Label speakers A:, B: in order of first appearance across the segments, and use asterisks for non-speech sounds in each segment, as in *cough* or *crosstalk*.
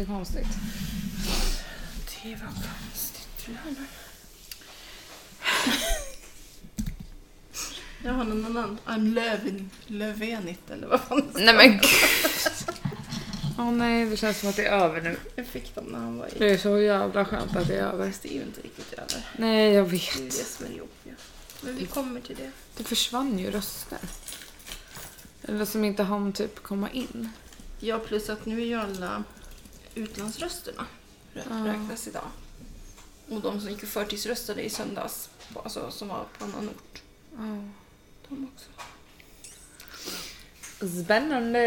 A: jättekonstigt.
B: Det var konstigt. Jag har någon annan. I'm Löven. Lövenigt eller vad fan det
C: Nej men gud.
A: Åh nej, det känns som att det är över nu.
B: Jag fick dem när han var i...
A: Det är så jävla skönt att det är över.
B: Fast det är ju inte riktigt över.
A: Nej, jag
B: Det är ju det
A: vet.
B: som är det jobbiga. Men vi kommer till det.
A: Det försvann ju röster. Eller som inte hann typ komma in.
B: Ja, plus att nu är ju alla utlandsrösterna rä-
A: Ja.
B: räknas idag. Och de som gick och förtidsröstade i söndags, på- alltså som var på annan ort,
A: Ja.
B: Ah. de också.
A: Spännande.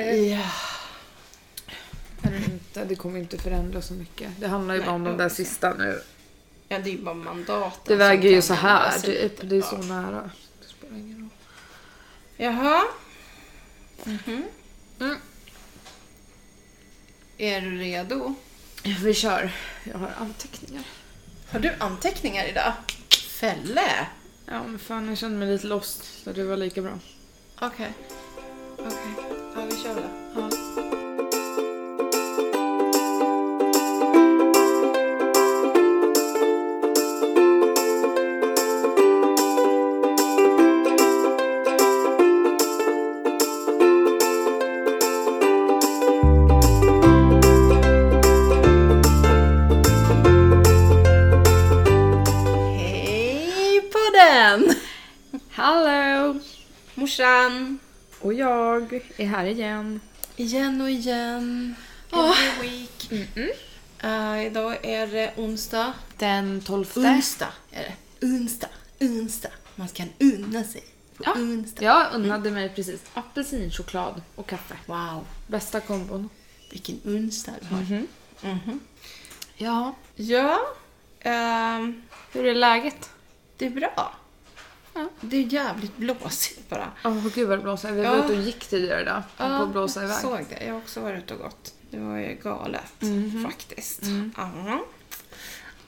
A: Eller inte, det kommer inte förändra så mycket. Det handlar ju
B: Nej,
A: bara om
B: jag
A: de där
B: vet inte.
A: sista nu.
B: Ja, det är ju bara mandaten.
A: Det
B: som
A: väger
B: kan
A: ju så
B: ändras
A: här
B: lite.
A: typ. Det är så
B: Ja.
A: nära. Det spelar ingen roll.
B: Jaha. Mhm.
A: Mm.
B: Är du redo?
A: Vi kör. Jag har anteckningar.
B: Har du anteckningar idag? Fälle.
A: Ja men fan jag känner mig lite lost. Så det var lika bra.
B: Okej. Okej. Ja, vi kör då.
A: Ja.
B: Hej på den!
A: Hallå!
B: Morsan.
A: Och jag är här igen.
B: Igen och igen.
A: Ja.
B: Every week. Eh, idag är det onsdag.
A: Den 12.
B: Onsdag är det. Onsdag. Onsdag. Man kan unna sig. På
A: Ja.
B: Onsdag.
A: Jag unnade mig precis apelsinchoklad och kaffe.
B: Wow.
A: Bästa kombon.
B: Vilken onsdag du har.
A: Mm-hmm.
B: Mhm.
A: Ja.
B: Ja. ehm,
A: Hur är läget?
B: det är bra.
A: Ja.
B: Det är jävligt blåsigt bara.
A: Åh gud vad det blåser. Vi var
B: Ja.
A: ute och gick tidigare idag. Ja. På att blåsa iväg.
B: Jag såg det. Jag har också varit ute och gått. Det var ju galet faktiskt. Ja.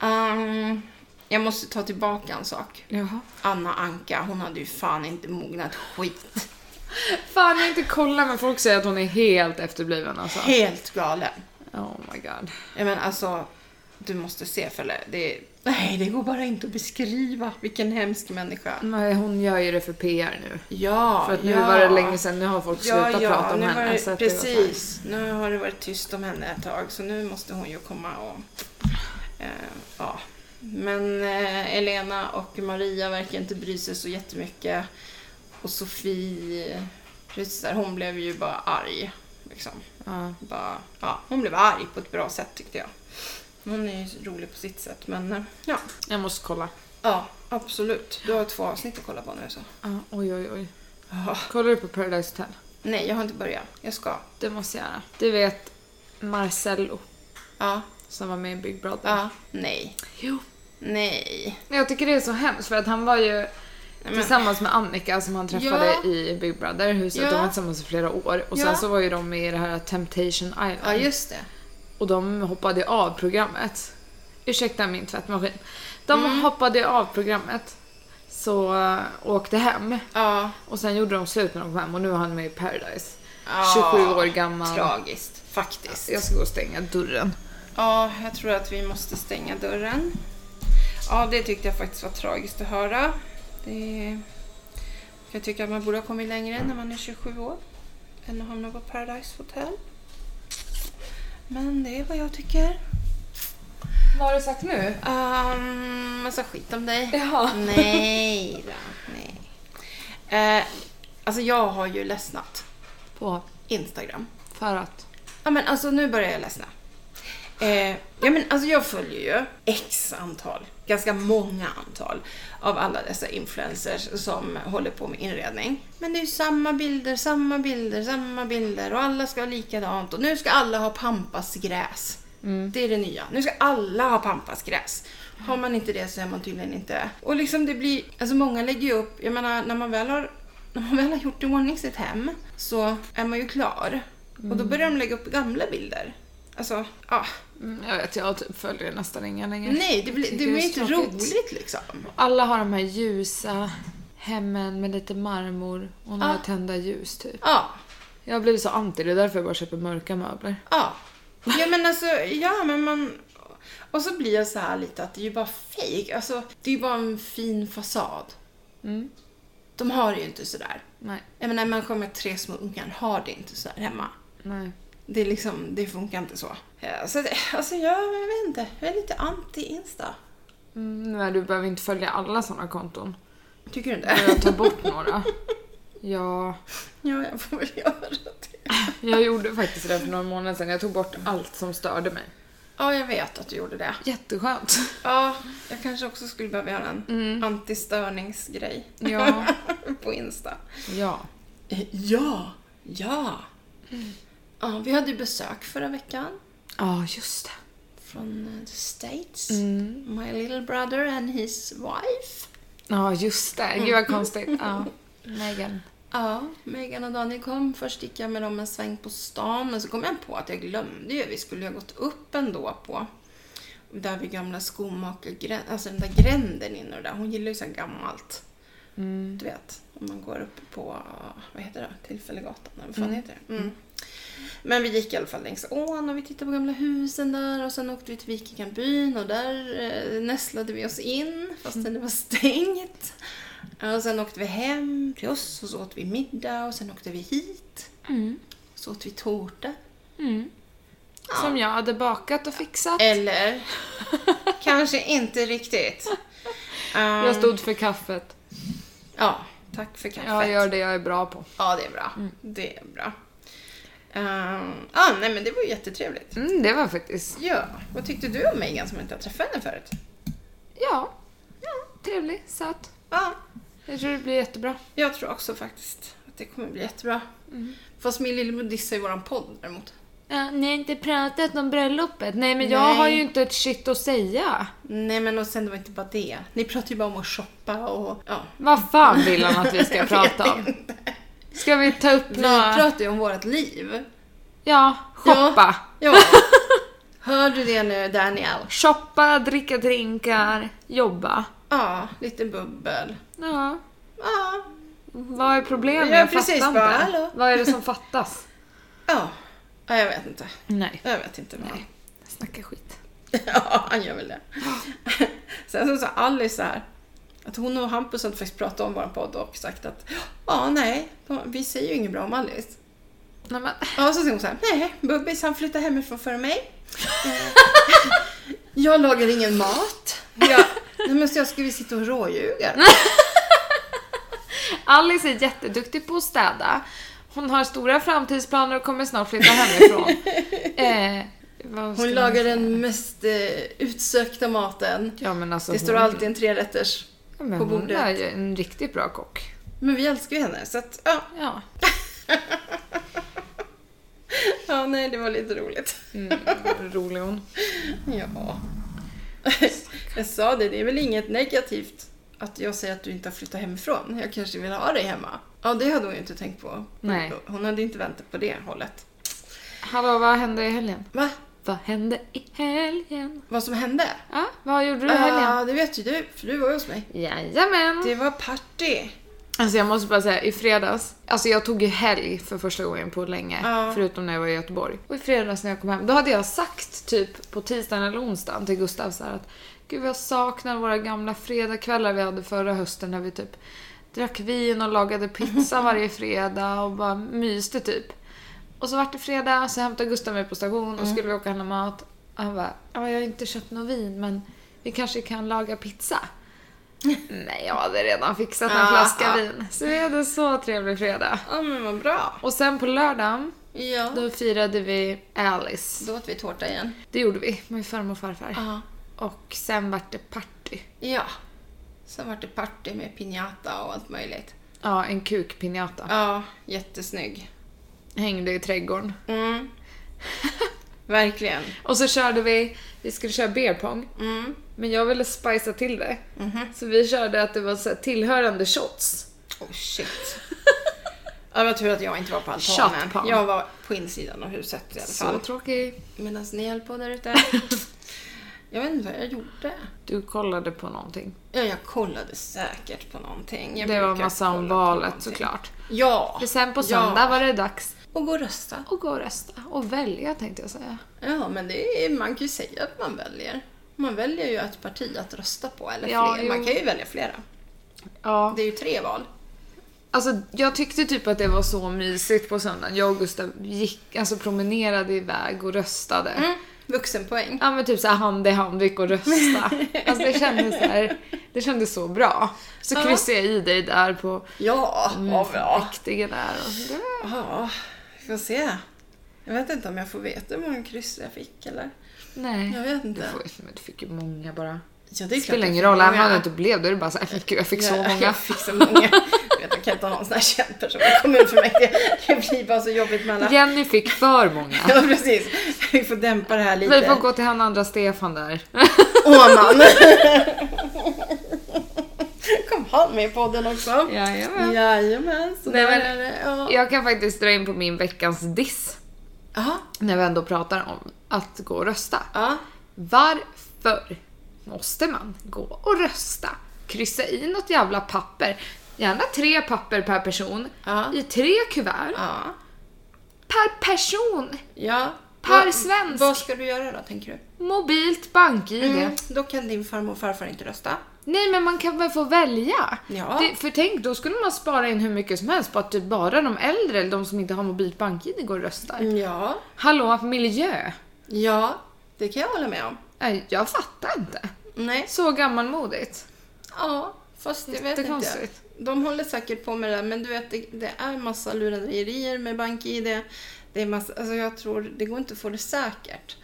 B: Ehm, jag måste ta tillbaka en sak.
A: Jaha.
B: Anna Anka, hon hade ju fan inte mognat skit. *laughs*
A: Fan jag har inte kollat men folk säger att hon är helt efterbliven alltså.
B: Helt galen.
A: Oh my god.
B: Jag menar alltså, du måste se Felle. Det är, nej, det går bara inte att beskriva. Vilken hemsk människa.
A: Nej, hon gör ju det för PR nu.
B: Ja,
A: För att nu
B: ja.
A: var det länge sedan, nu har folk
B: Ja,
A: slutat prata
B: ja,
A: om
B: nu
A: henne.
B: var
A: så
B: det,
A: att det var så här,
B: precis. Nu har det varit tyst om henne ett tag, så nu måste hon ju komma och... Eh, ja. Men eh, Elena och Maria verkar inte bry sig så jättemycket. Och Sofie, precis där, hon blev ju bara arg. Liksom.
A: ja.
B: Bara, ja, hon blev arg på ett bra sätt tyckte jag. Hon är ju rolig på sitt sätt, men eh, ja.
A: Jag måste kolla.
B: Ja, absolut. Du har två avsnitt att kolla på nu så.
A: Ja, oj, oj, oj.
B: Ja.
A: Kollar du på Paradise Hotel?
B: Nej, jag har inte börjat. Jag ska.
A: Det måste jag göra. Du vet Marcello
B: Ja,
A: som var med i Big Brother.
B: Ja. Nej.
A: Jo.
B: Nej.
A: Men Jag tycker det är så hemskt för att han var ju
B: men-
A: tillsammans med Annika som han träffade
B: Ja.
A: i Big Brother huset.
B: Ja.
A: De var tillsammans i flera år och
B: Ja.
A: sen så var ju de med i det här Temptation Island.
B: Ja, just det.
A: och de hoppade av programmet. Ursäkta min tvättmaskin. De
B: Mm.
A: hoppade av programmet. Så eh, åkte hem
B: Ja.
A: och sen gjorde de slut när de kom hem och nu är han med i Paradise.
B: Ja.
A: 27 år gammal.
B: Tragiskt, faktiskt.
A: Jag ska gå och stänga dörren.
B: Ja, jag tror att vi måste stänga dörren. Ja, det tyckte jag faktiskt var tragiskt att höra. Det... Jag tycker att man borde ha kommit längre när man är 27 år än att hamna på Paradise Hotel. Men det är vad jag tycker.
A: Vad har du sagt nu?
B: Um, massa skit om dig.
A: Jaha.
B: *laughs* Nej då, nej. Eh, alltså jag har ju ledsnat.
A: På
B: Instagram.
A: för att.
B: Ja men alltså nu börjar jag ledsna. Eh, ja men alltså jag följer ju x antal, ganska många antal av alla dessa influencers som håller på med inredning. Men det är ju samma bilder, samma bilder, samma bilder och alla ska ha likadant och nu ska alla ha pampasgräs. Mm. Det är det nya. Nu ska alla ha pampasgräs. Har man inte det så är man tydligen inte... Och liksom det blir... Alltså många lägger ju upp... Jag menar när man väl har, när man väl har gjort i ordning sitt hem så är man ju klar. Och då börjar de lägga upp gamla bilder. Alltså, ja.
A: Mm, jag vet, jag typ följer nästan inga längre.
B: Nej, det blir,
A: Tycker
B: det blir
A: är
B: inte
A: tråkigt.
B: roligt liksom.
A: Alla har de här ljusa hemmen med lite marmor och några
B: Ja.
A: tända ljus typ.
B: Ja,
A: Jag har blivit så anti, det är därför jag bara köper mörka möbler.
B: ja. Ja men alltså, ja men man... Och så blir jag så här lite att det är ju bara fake. Alltså, det är ju bara en fin fasad.
A: Mm.
B: De har det ju inte sådär.
A: Nej,
B: Jag menar, en människa med tre små ungar har det inte sådär hemma.
A: nej. Det
B: Det är liksom, det funkar inte så. Ja, så det, alltså jag, jag vet inte, jag är lite anti-insta.
A: Mm, nej, du behöver inte följa alla sådana konton.
B: Tycker du
A: Du
B: inte?
A: behöver ta bort några. Ja,
B: Ja, jag får väl göra det.
A: jag gjorde faktiskt det för några månader sedan. Jag tog bort allt som störde mig.
B: Ja, jag vet att du gjorde det.
A: Jätteskönt.
B: Ja, jag kanske också skulle behöva göra en antistörningsgrej
A: Ja,
B: på Insta.
A: ja.
B: Eh, Ja, ja. Ja, vi hade ju besök förra veckan
A: Ja, just det.
B: från eh, the States.
A: Mm.
B: My little brother and his wife.
A: Ja, just det. Gud vad konstigt. Ja. Mm. *laughs* Megan.
B: Ja, Megan och Daniel kom. Först gick jag med dem en sväng på stan, men så kom jag på att jag glömde ju. Vi skulle ju ha gått upp ändå på där vid gamla skomakargränden, alltså den där gränden in och där. Hon gillar ju så här gammalt.
A: Mm.
B: Du vet, om man går upp på, vad heter det, Tillfällegatan eller vad fan heter det? Mm. Men vi gick i alla fall längs ån och vi tittade på gamla husen där och sen åkte vi till Vikinganbyn och där eh, nästlade vi oss in
A: Mm.
B: fastän det var stängt. Och sen åkte vi hem till oss och så åt vi middag och sen åkte vi hit.
A: Mm.
B: Så åt vi tårta.
A: Mm. Eh, Som jag hade bakat och fixat. *laughs*
B: Eller kanske inte riktigt. Um,
A: Jag stod för kaffet.
B: Ja, tack för kaffet.
A: Jag gör det jag är bra på.
B: Ja, det är bra. Det är bra. Ehm, ah, nej men det var ju jättetrevligt.
A: Mm, det var faktiskt...
B: Ja, vad tyckte du om Megan som inte har träffat henne förut?
A: Ja. ja. Trevlig, söt.
B: Ja,
A: Jag tror det blir jättebra.
B: jag tror också faktiskt att det kommer bli jättebra. Fast min lillebror dissar ju våran podd däremot.
A: ni har inte pratat om bröllopet. Nej, men
B: Nej.
A: jag har ju inte ett shit att säga.
B: Nej men och sen det var inte bara det. Ni pratar ju bara om att shoppa och ja.
A: Vad fan vill han att vi *laughs*
B: *laughs*
A: ska prata om? Ska vi ta upp
B: Vi
A: några...
B: pratar ju om vårt liv.
A: Ja, shoppa.
B: Ja. *laughs* Hör du det nu Daniel?
A: Shoppa, dricka drinkar, jobba.
B: Ja, lite bubbel.
A: Ja,
B: Ja,
A: Mm-hmm. vad är problemet?
B: Ja,
A: Jag
B: precis,
A: fattar
B: bara,
A: inte.
B: hallå.
A: Vad är det som fattas?
B: ja. Ja, jag vet inte.
A: Nej.
B: Jag vet inte. Nej.
A: Snacka skit.
B: *laughs* Ja, han gör väl det. Sen så sa Alice så här att hon och Hampus hade faktiskt pratat om vår podd och sagt att ja, nej, de, vi säger ju inget bra om Alice.
A: Nej, men...
B: Ja, så säger hon så här, nej, Bubbis han flyttade hemifrån före mig. Eh, *laughs* jag lagar ingen mat. Jag, nej, men så jag skulle sitta och råljuga.
A: *laughs* Alice är jätteduktig på att städa. Hon har stora framtidsplaner och kommer snart flytta
B: *laughs*
A: hemifrån. eh, vad ska man
B: Hon lagar
A: säga?
B: den mest eh, utsökta maten.
A: Ja, men alltså,
B: Det står
A: hon-
B: alltid en trerätters.
A: ja, men
B: på
A: Hon
B: bordet.
A: är ju en riktigt bra kock.
B: Men vi älskar ju henne, så att ja.
A: Ja.
B: Ja, nej, det var lite roligt. *laughs*
A: Mm, rolig hon.
B: Ja. *laughs* Jag sa det, det är väl inget negativt att jag säger att du inte har flyttat hemifrån. Jag kanske vill ha dig hemma. Ja, det hade hon ju inte tänkt på.
A: Nej.
B: Hon hade inte väntat på det hållet.
A: Hallå, vad hände i helgen?
B: Va?
A: Vad hände i helgen?
B: Vad som hände?
A: Ja, vad gjorde
B: Ah.
A: du i helgen?
B: Ja, det vet ju du, för du var ju hos mig.
A: Jajamän!
B: Det var party.
A: Alltså jag måste bara säga, i fredags, alltså jag tog ju helg för första gången på länge,
B: Ja.
A: förutom när jag var i Göteborg. Och i fredags när jag kom hem, då hade jag sagt typ på tisdagen eller onsdagen till Gustav så här att Gud vad jag saknar våra gamla fredagskvällar vi hade förra hösten när vi typ drack vin och lagade pizza varje fredag och bara myste typ. Och så vart det fredag, så hämtade Gustav mig på station och skulle vi åka och handla mat. Och han bara, ja jag har inte köpt något vin men vi kanske kan laga pizza. Nej, jag hade redan fixat en
B: Ah,
A: flaska
B: ah.
A: vin. Så vi hade så trevlig fredag.
B: Ja, men vad bra.
A: Och sen på lördagen,
B: Ja.
A: då firade vi Alice.
B: Då åt vi tårta igen.
A: Det gjorde vi, med farmor och farfar.
B: Ja.
A: Och sen vart det party.
B: Ja. Sen var det party med piñata och allt möjligt.
A: Ja, en kukpinjata.
B: Ja, jättesnygg.
A: Hängde i trädgården.
B: Mm. *laughs* Verkligen.
A: Och så körde vi, vi skulle köra beer pong.
B: Mm.
A: Men jag ville spicea till det.
B: Mhm.
A: Så vi körde att det var så här, tillhörande shots.
B: Oh shit. *laughs* Ja, det var tur att jag inte var på
A: Shot
B: altanen.
A: pump.
B: Jag var på insidan av huset i alla
A: Så
B: fall.
A: tråkig.
B: Medan ni höll på där ute. *laughs* jag vet inte vad jag gjorde.
A: Du kollade på någonting.
B: Ja, jag kollade säkert på någonting. Jag
A: det var
B: brukar
A: massa om
B: kolla på
A: valet
B: någonting.
A: såklart.
B: Ja.
A: För sen på
B: Ja.
A: söndag var det dags
B: Och gå och rösta.
A: Och gå och rösta. Och välja tänkte jag säga.
B: Ja, men det är, man kan ju säga att man väljer. Man väljer ju ett parti att rösta på, eller
A: Ja,
B: fler. Man
A: jo.
B: kan ju välja flera.
A: Ja.
B: Det är ju tre val.
A: Alltså, jag tyckte typ att det var så mysigt på söndagen. Jag och Gustav gick, alltså promenerade iväg och röstade.
B: Mm. Vuxenpoäng.
A: Ja men typ såhär hand i hand, vi gick och rösta. Alltså det kändes såhär, det kändes så bra. Så
B: Ja.
A: kryssade jag i dig där på
B: Ja, vad bra.
A: mäktige där och det var-
B: Ja, vi får se. Jag vet inte om jag får veta hur många kryss jag fick eller?
A: Nej.
B: Jag vet
A: Du,
B: inte.
A: får, men du fick ju många bara.
B: Ja,
A: Det
B: är
A: spelar
B: klart
A: ingen
B: jag
A: roll,
B: fick
A: även om
B: många.
A: det inte blev det, är det bara såhär, gud jag fick så
B: Ja,
A: många.
B: Jag fick så många. Jag vet, jag kan inte ha någon sån här känd person i kommunfullmäktige. Det blir bara så jobbigt med alla.
A: Jenny fick för många.
B: Ja, precis. Vi får dämpa det här lite.
A: Vi får gå till han andra Stefan där.
B: Åman. Kom han med i podden också?
A: Jajamän.
B: Jajamän. Så
A: Nej,
B: där
A: men-
B: är det. Ja.
A: Jag kan faktiskt dra in på min veckans diss.
B: Jaha.
A: När vi ändå pratar om att gå och rösta.
B: Ja.
A: Varför måste man gå och rösta? Kryssa i något jävla papper. Gärna tre papper per person.
B: Ja.
A: I tre kuvert.
B: Ja.
A: Per person!
B: ja.
A: Per
B: Vad-
A: svensk.
B: Vad ska du göra då, tänker du?
A: Mobilt bank-id.
B: Mm. Då kan din farmor och farfar inte rösta.
A: Nej men man kan väl få välja?
B: Ja.
A: Det, för tänk, då skulle man spara in hur mycket som helst på att typ bara de äldre eller de som inte har mobilt bank-id går och röstar.
B: Mm. Ja.
A: Hallå, miljö!
B: Ja, det kan jag hålla med om.
A: Nej, jag fattar inte.
B: Nej.
A: Så gammalmodigt.
B: Ja, fast jag vet inte.
A: Jättekonstigt.
B: De håller säkert på med det där, men du vet, det, det är massa lurendrejerier med BankID. Det är massa, alltså jag tror, det går inte att få det säkert.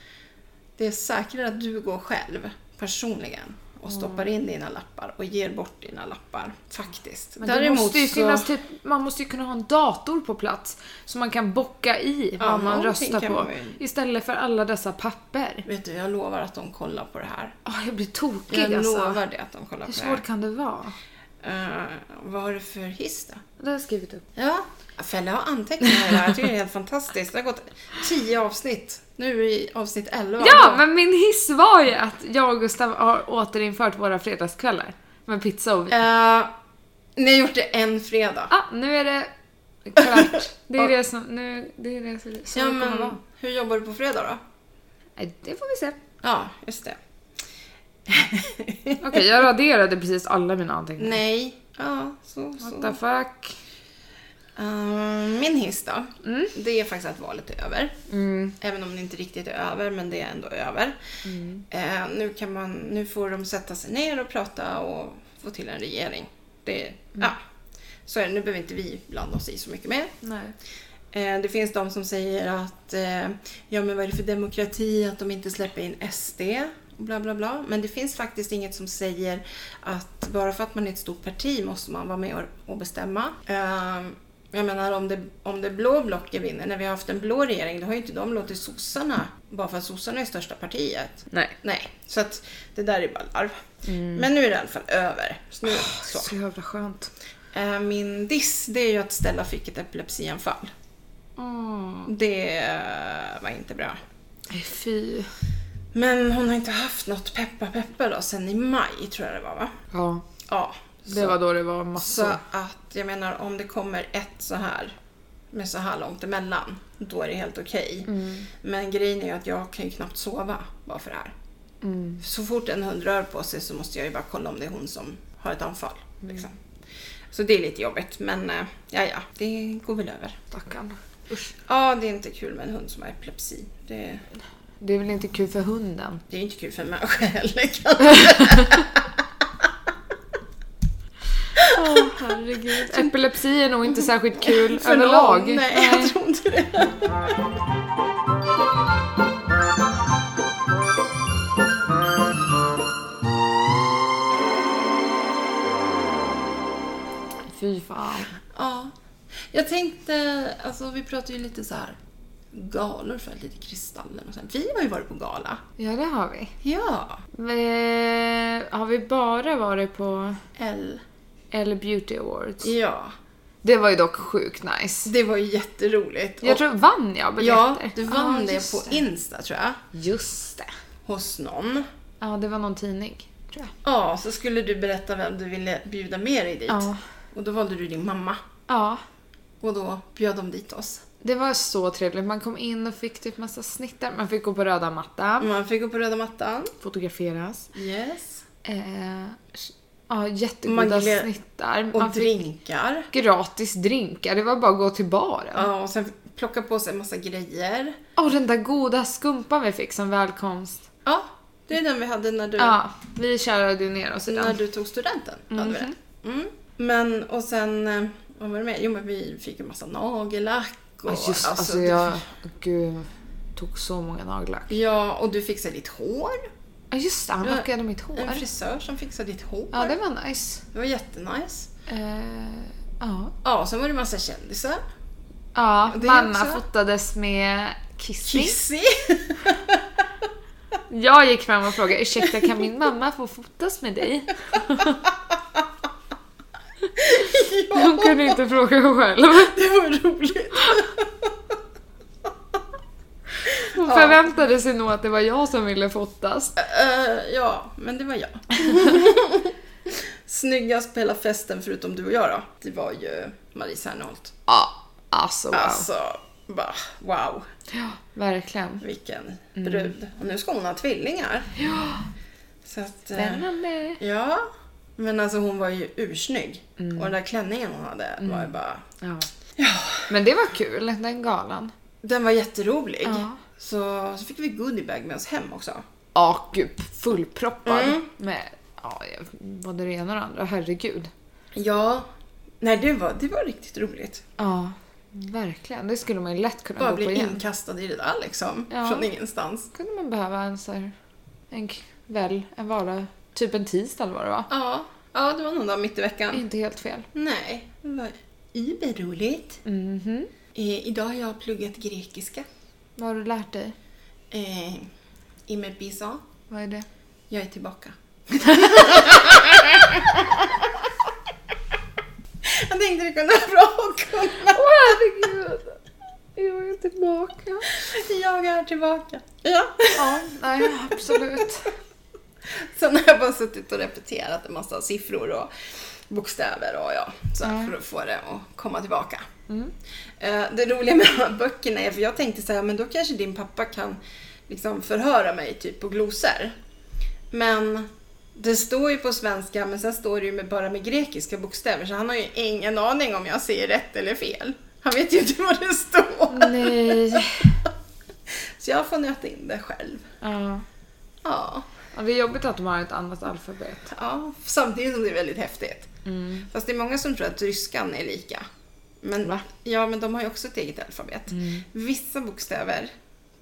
B: Det är säkrare att du går själv, personligen, och stoppar in dina lappar och ger bort dina lappar, faktiskt.
A: Men det måste ju finnas typ, man måste ju kunna ha en dator på plats så man kan bocka i vad
B: Ja,
A: man
B: någonting
A: röstar
B: kan
A: på
B: man ju-
A: istället för alla dessa papper.
B: Vet du, jag lovar att de kollar på det här.
A: Åh, jag blir tokig
B: Jag
A: alltså.
B: lovar det att de kollar
A: Hur
B: på det
A: svårt
B: här.
A: kan det vara?
B: Eh, vad har du för hiss då?
A: Det har jag skrivit upp.
B: Ja, Felle har anteckningar här. Jag tycker det är helt fantastiskt. Det har gått tio avsnitt. Nu är vi i avsnitt 11.
A: Ja, men min hiss var ju att jag och Gustav har återinfört våra fredagskvällar med pizza och vin.
B: Eh, ni har gjort det en fredag.
A: Ah, nu är det klart.
B: *laughs*
A: Det är det som, nu, det är det som som
B: ja,
A: det kommer
B: men
A: vara.
B: hur jobbar du på fredag då?
A: Nej, det får vi se.
B: Ja, just det.
A: Okej, jag raderade precis alla mina anteckningar.
B: Nej. Mm. Ja, så. så.
A: What the fuck?
B: Eh, min hiss då.
A: Mm.
B: Det är faktiskt att valet är över.
A: Mm.
B: Även om det inte riktigt är över, men det är ändå över.
A: Mm.
B: Eh, nu, kan man, nu får de sätta sig ner och prata och få till en regering. Det, ja. Så är det, nu behöver inte vi blanda oss i så mycket mer.
A: Nej.
B: Eh, Det finns de som säger att eh, ja, men vad är det för demokrati att de inte släpper in SD? och Bla, bla, bla. Men det finns faktiskt inget som säger att bara för att man är ett stort parti måste man vara med och- och bestämma. Eh, Jag menar om det, om det blå blocket vinner, när vi har haft en blå regering, då har ju inte de låtit sossarna, bara för att sossarna är största partiet.
A: Nej.
B: Nej, så att det där är bara larv. Men nu är det i alla fall över. Så nu, så.
A: Ah, Så jävla skönt.
B: Eh, Min diss, det är ju att Stella fick ett epilepsianfall.
A: Mm.
B: Det eh, var inte bra.
A: Nej, Äh, Fy.
B: Men hon har inte haft något peppa peppa då sen i maj tror jag det var va?
A: Ja,
B: Ja.
A: det var då det var
B: så
A: massor.
B: Alltså att jag menar om det kommer ett så här med så här långt emellan, då är det helt okej. Men grejen är ju att jag kan ju knappt sova bara för det här.
A: Mm.
B: Så fort en hund rör på sig så måste jag ju bara kolla om det är hon som har ett anfall. Liksom. Så det är lite jobbigt men eh, ja ja, det går väl över.
A: Stackarn. Usch.
B: Ja, det är inte kul med en hund som har epilepsi. Det,
A: Det är väl inte kul för hunden?
B: det är ju inte kul för en människa *laughs* heller kanske.
A: Åh herregud. Epilepsi är nog inte särskilt kul överlag.
B: någon, nej, jag tror inte det.
A: *laughs* Fy fan.
B: Ja. Jag tänkte, alltså vi pratar ju lite så här galor för lite kristallen och sånt. Vi har ju varit på gala.
A: Ja, det har vi.
B: Ja.
A: Eh, har vi bara varit på
B: L.
A: L Beauty Awards?
B: Ja.
A: Det var ju dock sjukt nice.
B: Det var ju jätteroligt.
A: Jag
B: Och-
A: tror, vann jag
B: ja,
A: biljetter?
B: du vann
A: Ja,
B: det
A: just
B: på Insta tror jag.
A: Just det.
B: Hos någon.
A: Ja, det var någon tidning, tror jag.
B: Ja, så skulle du berätta vem du ville bjuda med dig dit.
A: Ja.
B: Och då valde du din mamma.
A: Ja.
B: Och då bjöd de dit oss.
A: Det var så trevligt. Man kom in och fick typ massa snittar. Man fick gå på röda mattan,
B: Man fick gå på röda mattan.
A: fotograferas.
B: Yes.
A: Eh, ja, jättegoda
B: Man gled-
A: snittar.
B: Och
A: Man fick
B: drinkar.
A: gratis drinkar. Det var bara att gå till baren.
B: Ja, och sen plocka på sig massa grejer.
A: Och den där goda skumpan vi fick som välkomst.
B: Ja, det är den vi hade när du,
A: Ja, vi kärade ju ner oss i
B: när
A: den.
B: du tog studenten. Då hade vi
A: Mhm.
B: det. Mm. Men och sen, eh, vad var det mer? Jo men vi fick ju massa nagellack. Och,
A: Ja, just alltså
B: du-
A: jag... Gud, jag tog så många nagellack.
B: Ja, och du fixade ditt hår.
A: Ja just det, han
B: Ja,
A: lackade mitt hår.
B: En frisör som fixade ditt hår.
A: Ja, det var nice.
B: Det var jättenice.
A: Eh, ja.
B: Ja, sen var det massa kändisar.
A: Ja,
B: Det
A: mamma
B: också.
A: fotades med kissing.
B: Kissy! *laughs*
A: Jag gick fram och frågade ursäkta kan min mamma få fotas med dig? *laughs* Hon kunde inte fråga själv.
B: Det var roligt.
A: Hon förväntade sig nog att det var jag som ville fotas.
B: Eh, ja, men det
A: *laughs*
B: var jag. Snyggast på hela festen förutom du och jag då. Det var ju Marie Serneholt.
A: Ja, alltså wow.
B: Alltså, bara, wow.
A: Ja, verkligen.
B: Vilken
A: Mm.
B: brud. Och nu ska hon ha tvillingar. Ja. Så att, eh,
A: Spännande.
B: ja. Men alltså hon var ju ursnygg.
A: Mm.
B: Och den där klänningen hon hade var ju bara...
A: Ja. Men det var kul, den galan.
B: Den var jätterolig.
A: Ja.
B: Så, så fick vi goodiebag med oss hem också.
A: Ja, gud, fullproppad med ja, både det ena och det andra. Herregud.
B: Ja. Nej, det var, det var riktigt roligt.
A: Ja, verkligen. Det skulle man ju lätt kunna
B: Bara
A: gå på
B: bli
A: igen.
B: inkastad i det där liksom.
A: Ja.
B: Från ingenstans.
A: kunde man behöva en så här, en kväll, en vardag, typ en tisdag eller vad det var.
B: Ja. Ja, det var någon dag mitt i veckan.
A: Inte helt fel.
B: Nej, det var überroligt.
A: Mhm.
B: Eh, idag har jag pluggat grekiska.
A: Vad har du lärt dig?
B: Eh, Imer Bisa.
A: Vad är det?
B: Jag är tillbaka. jag tänkte det kunde vara bra att kunna.
A: Åh herregud! Jag är tillbaka.
B: Jag är tillbaka. Ja.
A: Ja, nej absolut.
B: Sen har jag bara suttit och repeterat en massa siffror och bokstäver och ja, så här, för att få det att komma tillbaka. Eh, Det roliga med *laughs* de här böckerna är, för jag tänkte så här, men då kanske din pappa kan liksom förhöra mig typ på glosor. Men det står ju på svenska, men sen står det ju med, bara med grekiska bokstäver, så han har ju ingen aning om jag säger rätt eller fel. Han vet ju inte vad det står.
A: Nej.
B: Så jag får nöta in det själv.
A: Ja.
B: Ja.
A: Ja, det är jobbigt att de har ett annat alfabet.
B: Ja, samtidigt som det är väldigt häftigt.
A: Mm.
B: Fast det är många som tror att ryskan är lika. Men,
A: Va? Mm.
B: ja, men de har ju också ett eget alfabet. Vissa bokstäver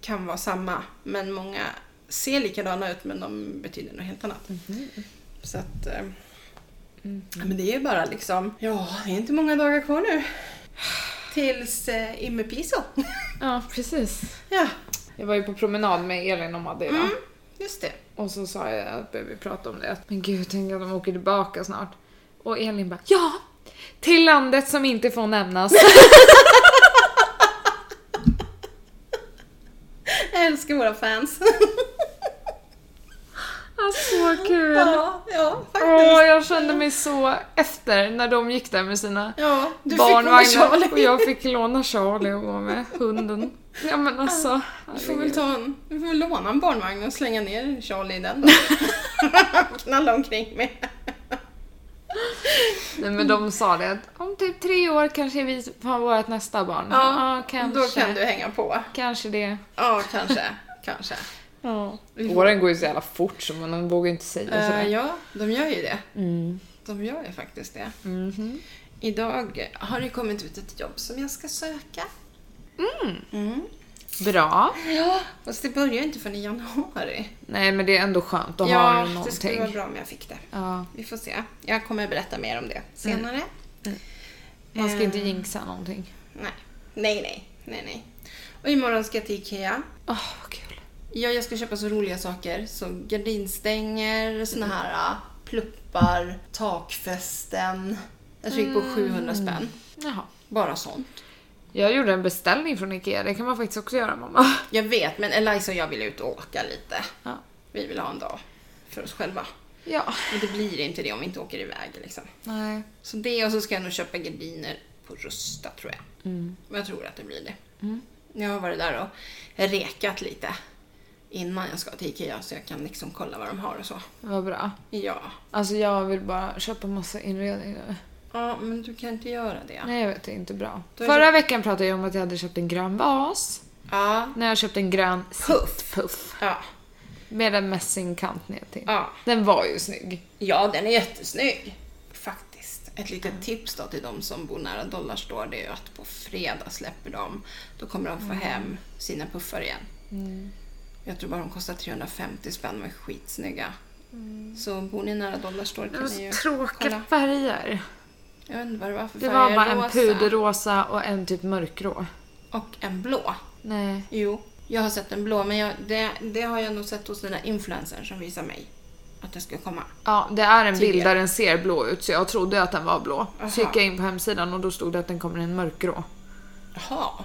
B: kan vara samma, men många ser likadana ut men de betyder något helt annat.
A: Mhm.
B: Så att... eh, ja, Men det är ju bara liksom, ja, det är inte många dagar kvar nu. Tills eh, Imme Piso. *laughs*
A: Ja, precis. Mm.
B: ja, mm,
A: Jag var ju på promenad med Elin och Madde idag.
B: just det.
A: Och så sa jag att vi pratade om det. att, Men gud, tänk att de åker tillbaka snart. Och Elin bara ja! Till landet som inte får nämnas.
B: Jag älskar våra fans.
A: Ja, Alltså, så kul!
B: ja, *laughs* ja, faktiskt.
A: Åh, jag kände mig så efter när de gick där med sina
B: Ja, du fick vara
A: barnvagnar
B: Charlie.
A: och jag fick låna Charlie och gå med hunden. Ja men alltså,
B: Du får väl
A: herregud.
B: ta en, du får väl låna en barnvagn och slänga ner Charlie i *laughs* den. Knalla omkring med.
A: Nej, men de sa det att om typ tre år kanske vi har vårt nästa barn.
B: Ja,
A: kanske.
B: Då kan du hänga på. Eh,
A: Kanske det.
B: Ja, kanske. kanske.
A: Ja.
B: Vi får-
A: Åren går ju så jävla fort så man vågar inte säga sådär.
B: Eh, ja, de gör ju det.
A: Mm.
B: De gör ju faktiskt det.
A: Mhm.
B: Idag har det kommit ut ett jobb som jag ska söka. Mm.
A: Bra.
B: Ja, fast det börjar ju inte förrän i januari.
A: Nej men det är ändå skönt att ha
B: ja, det skulle
A: någonting.
B: vara bra om jag fick det.
A: Ja,
B: Vi får se. Jag kommer berätta mer om det senare.
A: man ska
B: Eh,
A: inte jinxa någonting.
B: Nej. Nej, nej. Nej, nej. Och imorgon ska jag till Ikea.
A: Åh, vad kul.
B: Ja, jag ska köpa så roliga saker. Så gardinstänger, såna här ah, pluppar, takfästen. Jag tror det gick på 700 spänn.
A: Jaha.
B: Bara sånt.
A: Jag gjorde en beställning från IKEA, det kan man faktiskt också göra mamma.
B: Jag vet, men Eliza och jag vill ut och åka lite.
A: Ja.
B: Vi vill ha en dag för oss själva.
A: ja.
B: Men det blir inte det om vi inte åker iväg liksom.
A: Nej.
B: Så det och så ska jag nog köpa gardiner på Rusta tror jag. Men jag tror att det blir det. Jag har varit där och rekat lite innan jag ska till IKEA så jag kan liksom kolla vad de har och så.
A: Vad bra.
B: Ja.
A: Alltså jag vill bara köpa massa inredning nu.
B: Ja, men du kan inte göra det.
A: Nej jag vet, det är inte bra.
B: Då är
A: Förra veckan pratade jag om att jag hade köpt en grön vas.
B: Ja.
A: När jag köpte en grön
B: Puff.
A: puff
B: Ja.
A: Med en mässingkant ner till.
B: Ja.
A: Den var ju snygg.
B: Ja, den är jättesnygg. Faktiskt. Ett litet tips då till de som bor nära Dollarstore det är ju att på fredag släpper de. Då kommer de få
A: Mm.
B: hem sina puffar igen. Mm. Jag tror bara de kostar 350 spänn, men skitsnygga.
A: Mm.
B: Så bor ni nära Dollarstore
A: Det
B: kan
A: var
B: ni ju
A: så tråkiga
B: kolla.
A: färger.
B: Jag vet inte vad det var för
A: Det
B: färger.
A: var bara en
B: Rosa
A: puderrosa och en typ mörkgrå.
B: Och en blå.
A: Nej.
B: Jo, jag har sett en blå, men jag, det, det har jag nog sett hos den där influencern som visar mig att det ska komma.
A: Ja, det är en
B: Tydligen.
A: bild där den ser blå ut så jag trodde att den var blå.
B: Aha.
A: Så gick jag in på hemsidan och då stod det att den kommer i en mörkgrå.
B: Jaha.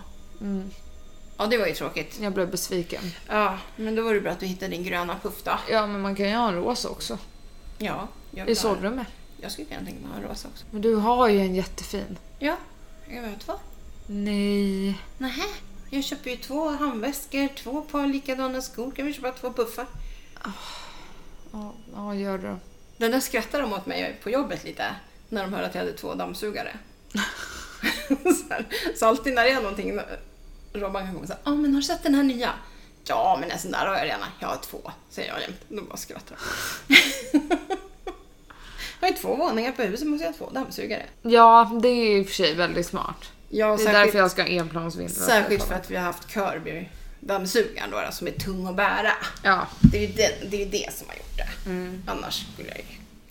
B: Ja, det var ju tråkigt.
A: Jag blev besviken.
B: Mm. Ja, men då var det bra att du hittade din gröna puff då.
A: Ja, men man kan ju ha en rosa också.
B: Ja,
A: I
B: jag, vill ha,
A: sovrummet.
B: jag skulle kunna tänka mig att ha en rosa också.
A: Men du har ju en jättefin.
B: Ja, jag har två.
A: Nej.
B: Nähä, jag köper ju två handväskor, två par likadana skor. Kan vi köpa två puffar?
A: Ja, ja gör det då.
B: Den där skrattar de åt mig på jobbet lite när de hör att jag hade två dammsugare. så, här, så alltid när det är någonting, Robban kan komma och säga ah, men har du sett den här nya?” ”Ja, men en sån där har jag redan. Jag har två”, säger jag jämt. De bara skrattar. *laughs* jag har ju två våningar på huset, måste jag ha två dammsugare.
A: Ja, det är i och för sig väldigt smart.
B: Ja,
A: Det är därför jag ska ha Liksom. enplansvindlar.
B: särskilt för att vi har haft Kirby-dammsugaren då, då, som är tung att bära.
A: Ja.
B: Det är ju det, det, är ju det som har gjort det. Annars skulle jag ju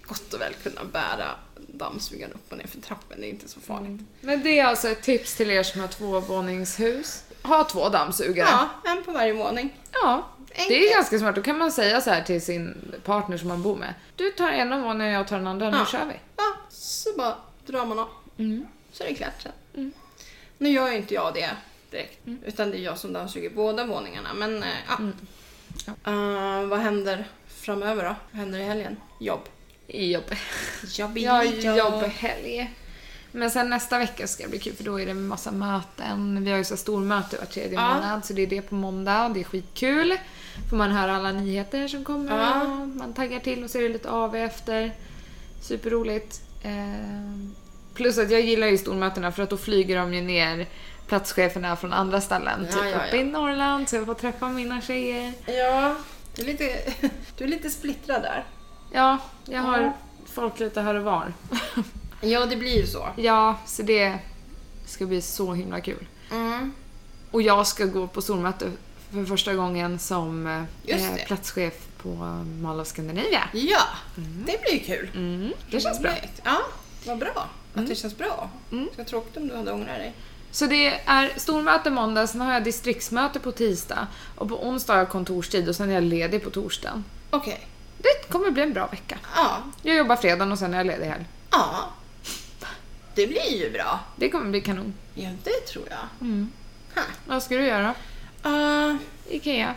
B: gott och väl kunna bära dammsugaren upp och ner för trappen. Det är inte så farligt.
A: Men det är alltså ett tips till er som har tvåvåningshus. Ha två dammsugare.
B: Ja, en på varje våning.
A: Ja, det
B: Enkelt.
A: är ganska smart. Då kan man säga så här till sin partner som man bor med. Du tar en av våningen, jag tar den andra. Nu
B: Ja.
A: kör vi.
B: Ja, så bara drar man av. Så är det klart sen. Nu gör ju inte jag det direkt. Utan det är jag som dammsuger båda våningarna. Men eh, ja. Eh, vad händer framöver då? Vad händer i helgen? Jobb.
A: Jobb.
B: Jobb,
A: Jag har jobbhelg. Men sen nästa vecka ska det bli kul för då är det massa möten. Vi har ju så här stormöte var tredje
B: Ja.
A: månad så det är det på måndag. Det är skitkul. Får man höra alla nyheter som kommer.
B: Ja.
A: och Man taggar till och så är det lite av efter. Superroligt. Eh, plus att jag gillar ju stormötena för att då flyger de ju ner platscheferna från andra ställen.
B: Ja,
A: typ
B: ja,
A: uppe
B: ja.
A: i Norrland så jag får träffa mina tjejer.
B: Ja, du är, lite, *laughs* du är lite splittrad där.
A: Ja, jag har
B: Ja.
A: folk lite här och var. *laughs*
B: Ja, det blir ju så.
A: ja, så det ska bli så himla kul.
B: Mm.
A: Och jag ska gå på stormöte för första gången som eh,
B: Just det.
A: platschef på Mall of Scandinavia.
B: Ja, det blir ju kul.
A: Mm, det känns bra. Mm.
B: Roligt. Ja, vad bra att det känns bra. Det var tråkigt om du hade ångrat dig.
A: Så det är stormöte måndag, sen har jag distriktsmöte på tisdag och på onsdag har jag kontorstid och sen är jag ledig på torsdagen.
B: Okej.
A: Det kommer bli en bra vecka.
B: Ja.
A: Jag jobbar fredagen och sen är jag ledig helg.
B: ja, det blir ju bra.
A: Det kommer bli kanon.
B: Ja, det tror jag.
A: Mm.
B: Ha.
A: Vad ska du göra?
B: Ah,
A: Ikea.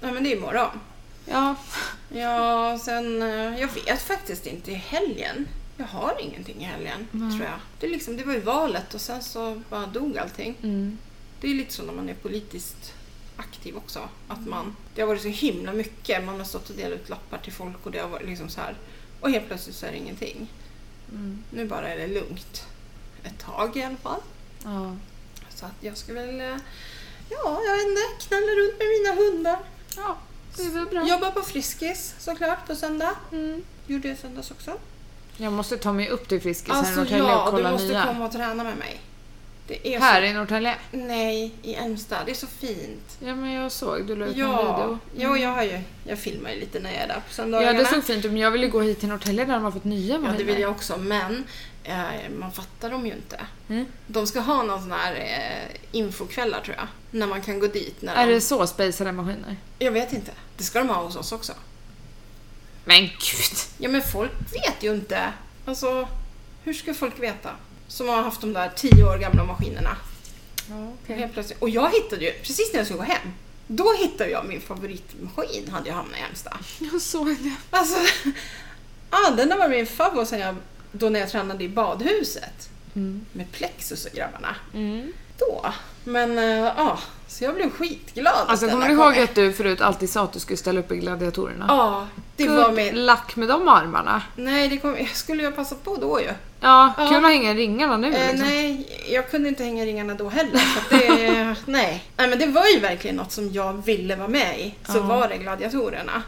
B: nej, men det är imorgon.
A: Ja.
B: Ja, sen... eh, Jag vet faktiskt inte i helgen. Jag har ingenting i helgen, tror jag. Det, är liksom, det var ju valet och sen så bara dog allting.
A: Mm.
B: Det är lite så när man är politiskt aktiv också.
A: Mm.
B: Att man, det har varit så himla mycket. Man har stått och delat ut lappar till folk och det har varit liksom så här. Och helt plötsligt så är det ingenting.
A: Mm.
B: Nu bara är det lugnt. Ett tag i alla fall.
A: ja.
B: Så att jag ska väl, eh, ja jag vet inte, knalla runt med mina hundar.
A: Ja, det är väl bra.
B: Jobba på Friskis såklart på söndag.
A: Mm.
B: Gjorde jag i söndags också.
A: Jag måste ta mig upp till Friskis här i
B: Alltså
A: Norrtälje
B: ja,
A: och
B: du
A: kolla
B: måste
A: nya.
B: komma och träna med mig. Det är
A: Här
B: Så,
A: i Norrtälje?
B: nej, i Älmstad. Det är så fint.
A: Ja, men jag såg. Du la ut en
B: Ja,
A: video. Mm.
B: jo, jag, har ju, jag filmar ju lite när jag är där på
A: Ja,
B: söndagarna.
A: det såg fint ut, men jag ville gå hit till Norrtälje där de har fått nya
B: Ja,
A: maskiner.
B: det vill jag också, men eh, man fattar dem ju inte.
A: Mm.
B: De ska ha någon sån här eh, infokvällar tror jag, när man kan gå dit. När
A: Är
B: de...
A: det så spejsade maskiner?
B: Jag vet inte. Det ska de ha hos oss också.
A: Men gud!
B: Ja, men folk vet ju inte. Alltså, hur ska folk veta? Som har haft de där tio år gamla maskinerna.
A: Ja,
B: Helt plötsligt. Och jag hittade ju, precis när jag skulle gå hem, då hittade jag min favoritmaskin, hade jag hamnat i Halmstad.
A: *laughs* Jag såg det.
B: Alltså, *laughs* ja, den har varit min
A: Mm.
B: favorit sen jag, då när jag tränade i badhuset. Med plexus och grabbarna. då. Men eh, ja, så jag blev skitglad.
A: Alltså
B: att den
A: kommer du
B: här
A: ihåg
B: kom.
A: att du förut alltid sa att du skulle ställa upp i gladiatorerna?
B: Ja, det var min...
A: lack med de armarna.
B: Nej, det kom... skulle jag passat på då ju.
A: Ja,
B: Ja.
A: kul att hänga i ringarna nu
B: Eh,
A: liksom.
B: nej, jag kunde inte hänga ringarna då heller. Så
A: *laughs*
B: att det, nej. nej, men det var ju verkligen något som jag ville vara med i. Så
A: Ja.
B: var det gladiatorerna.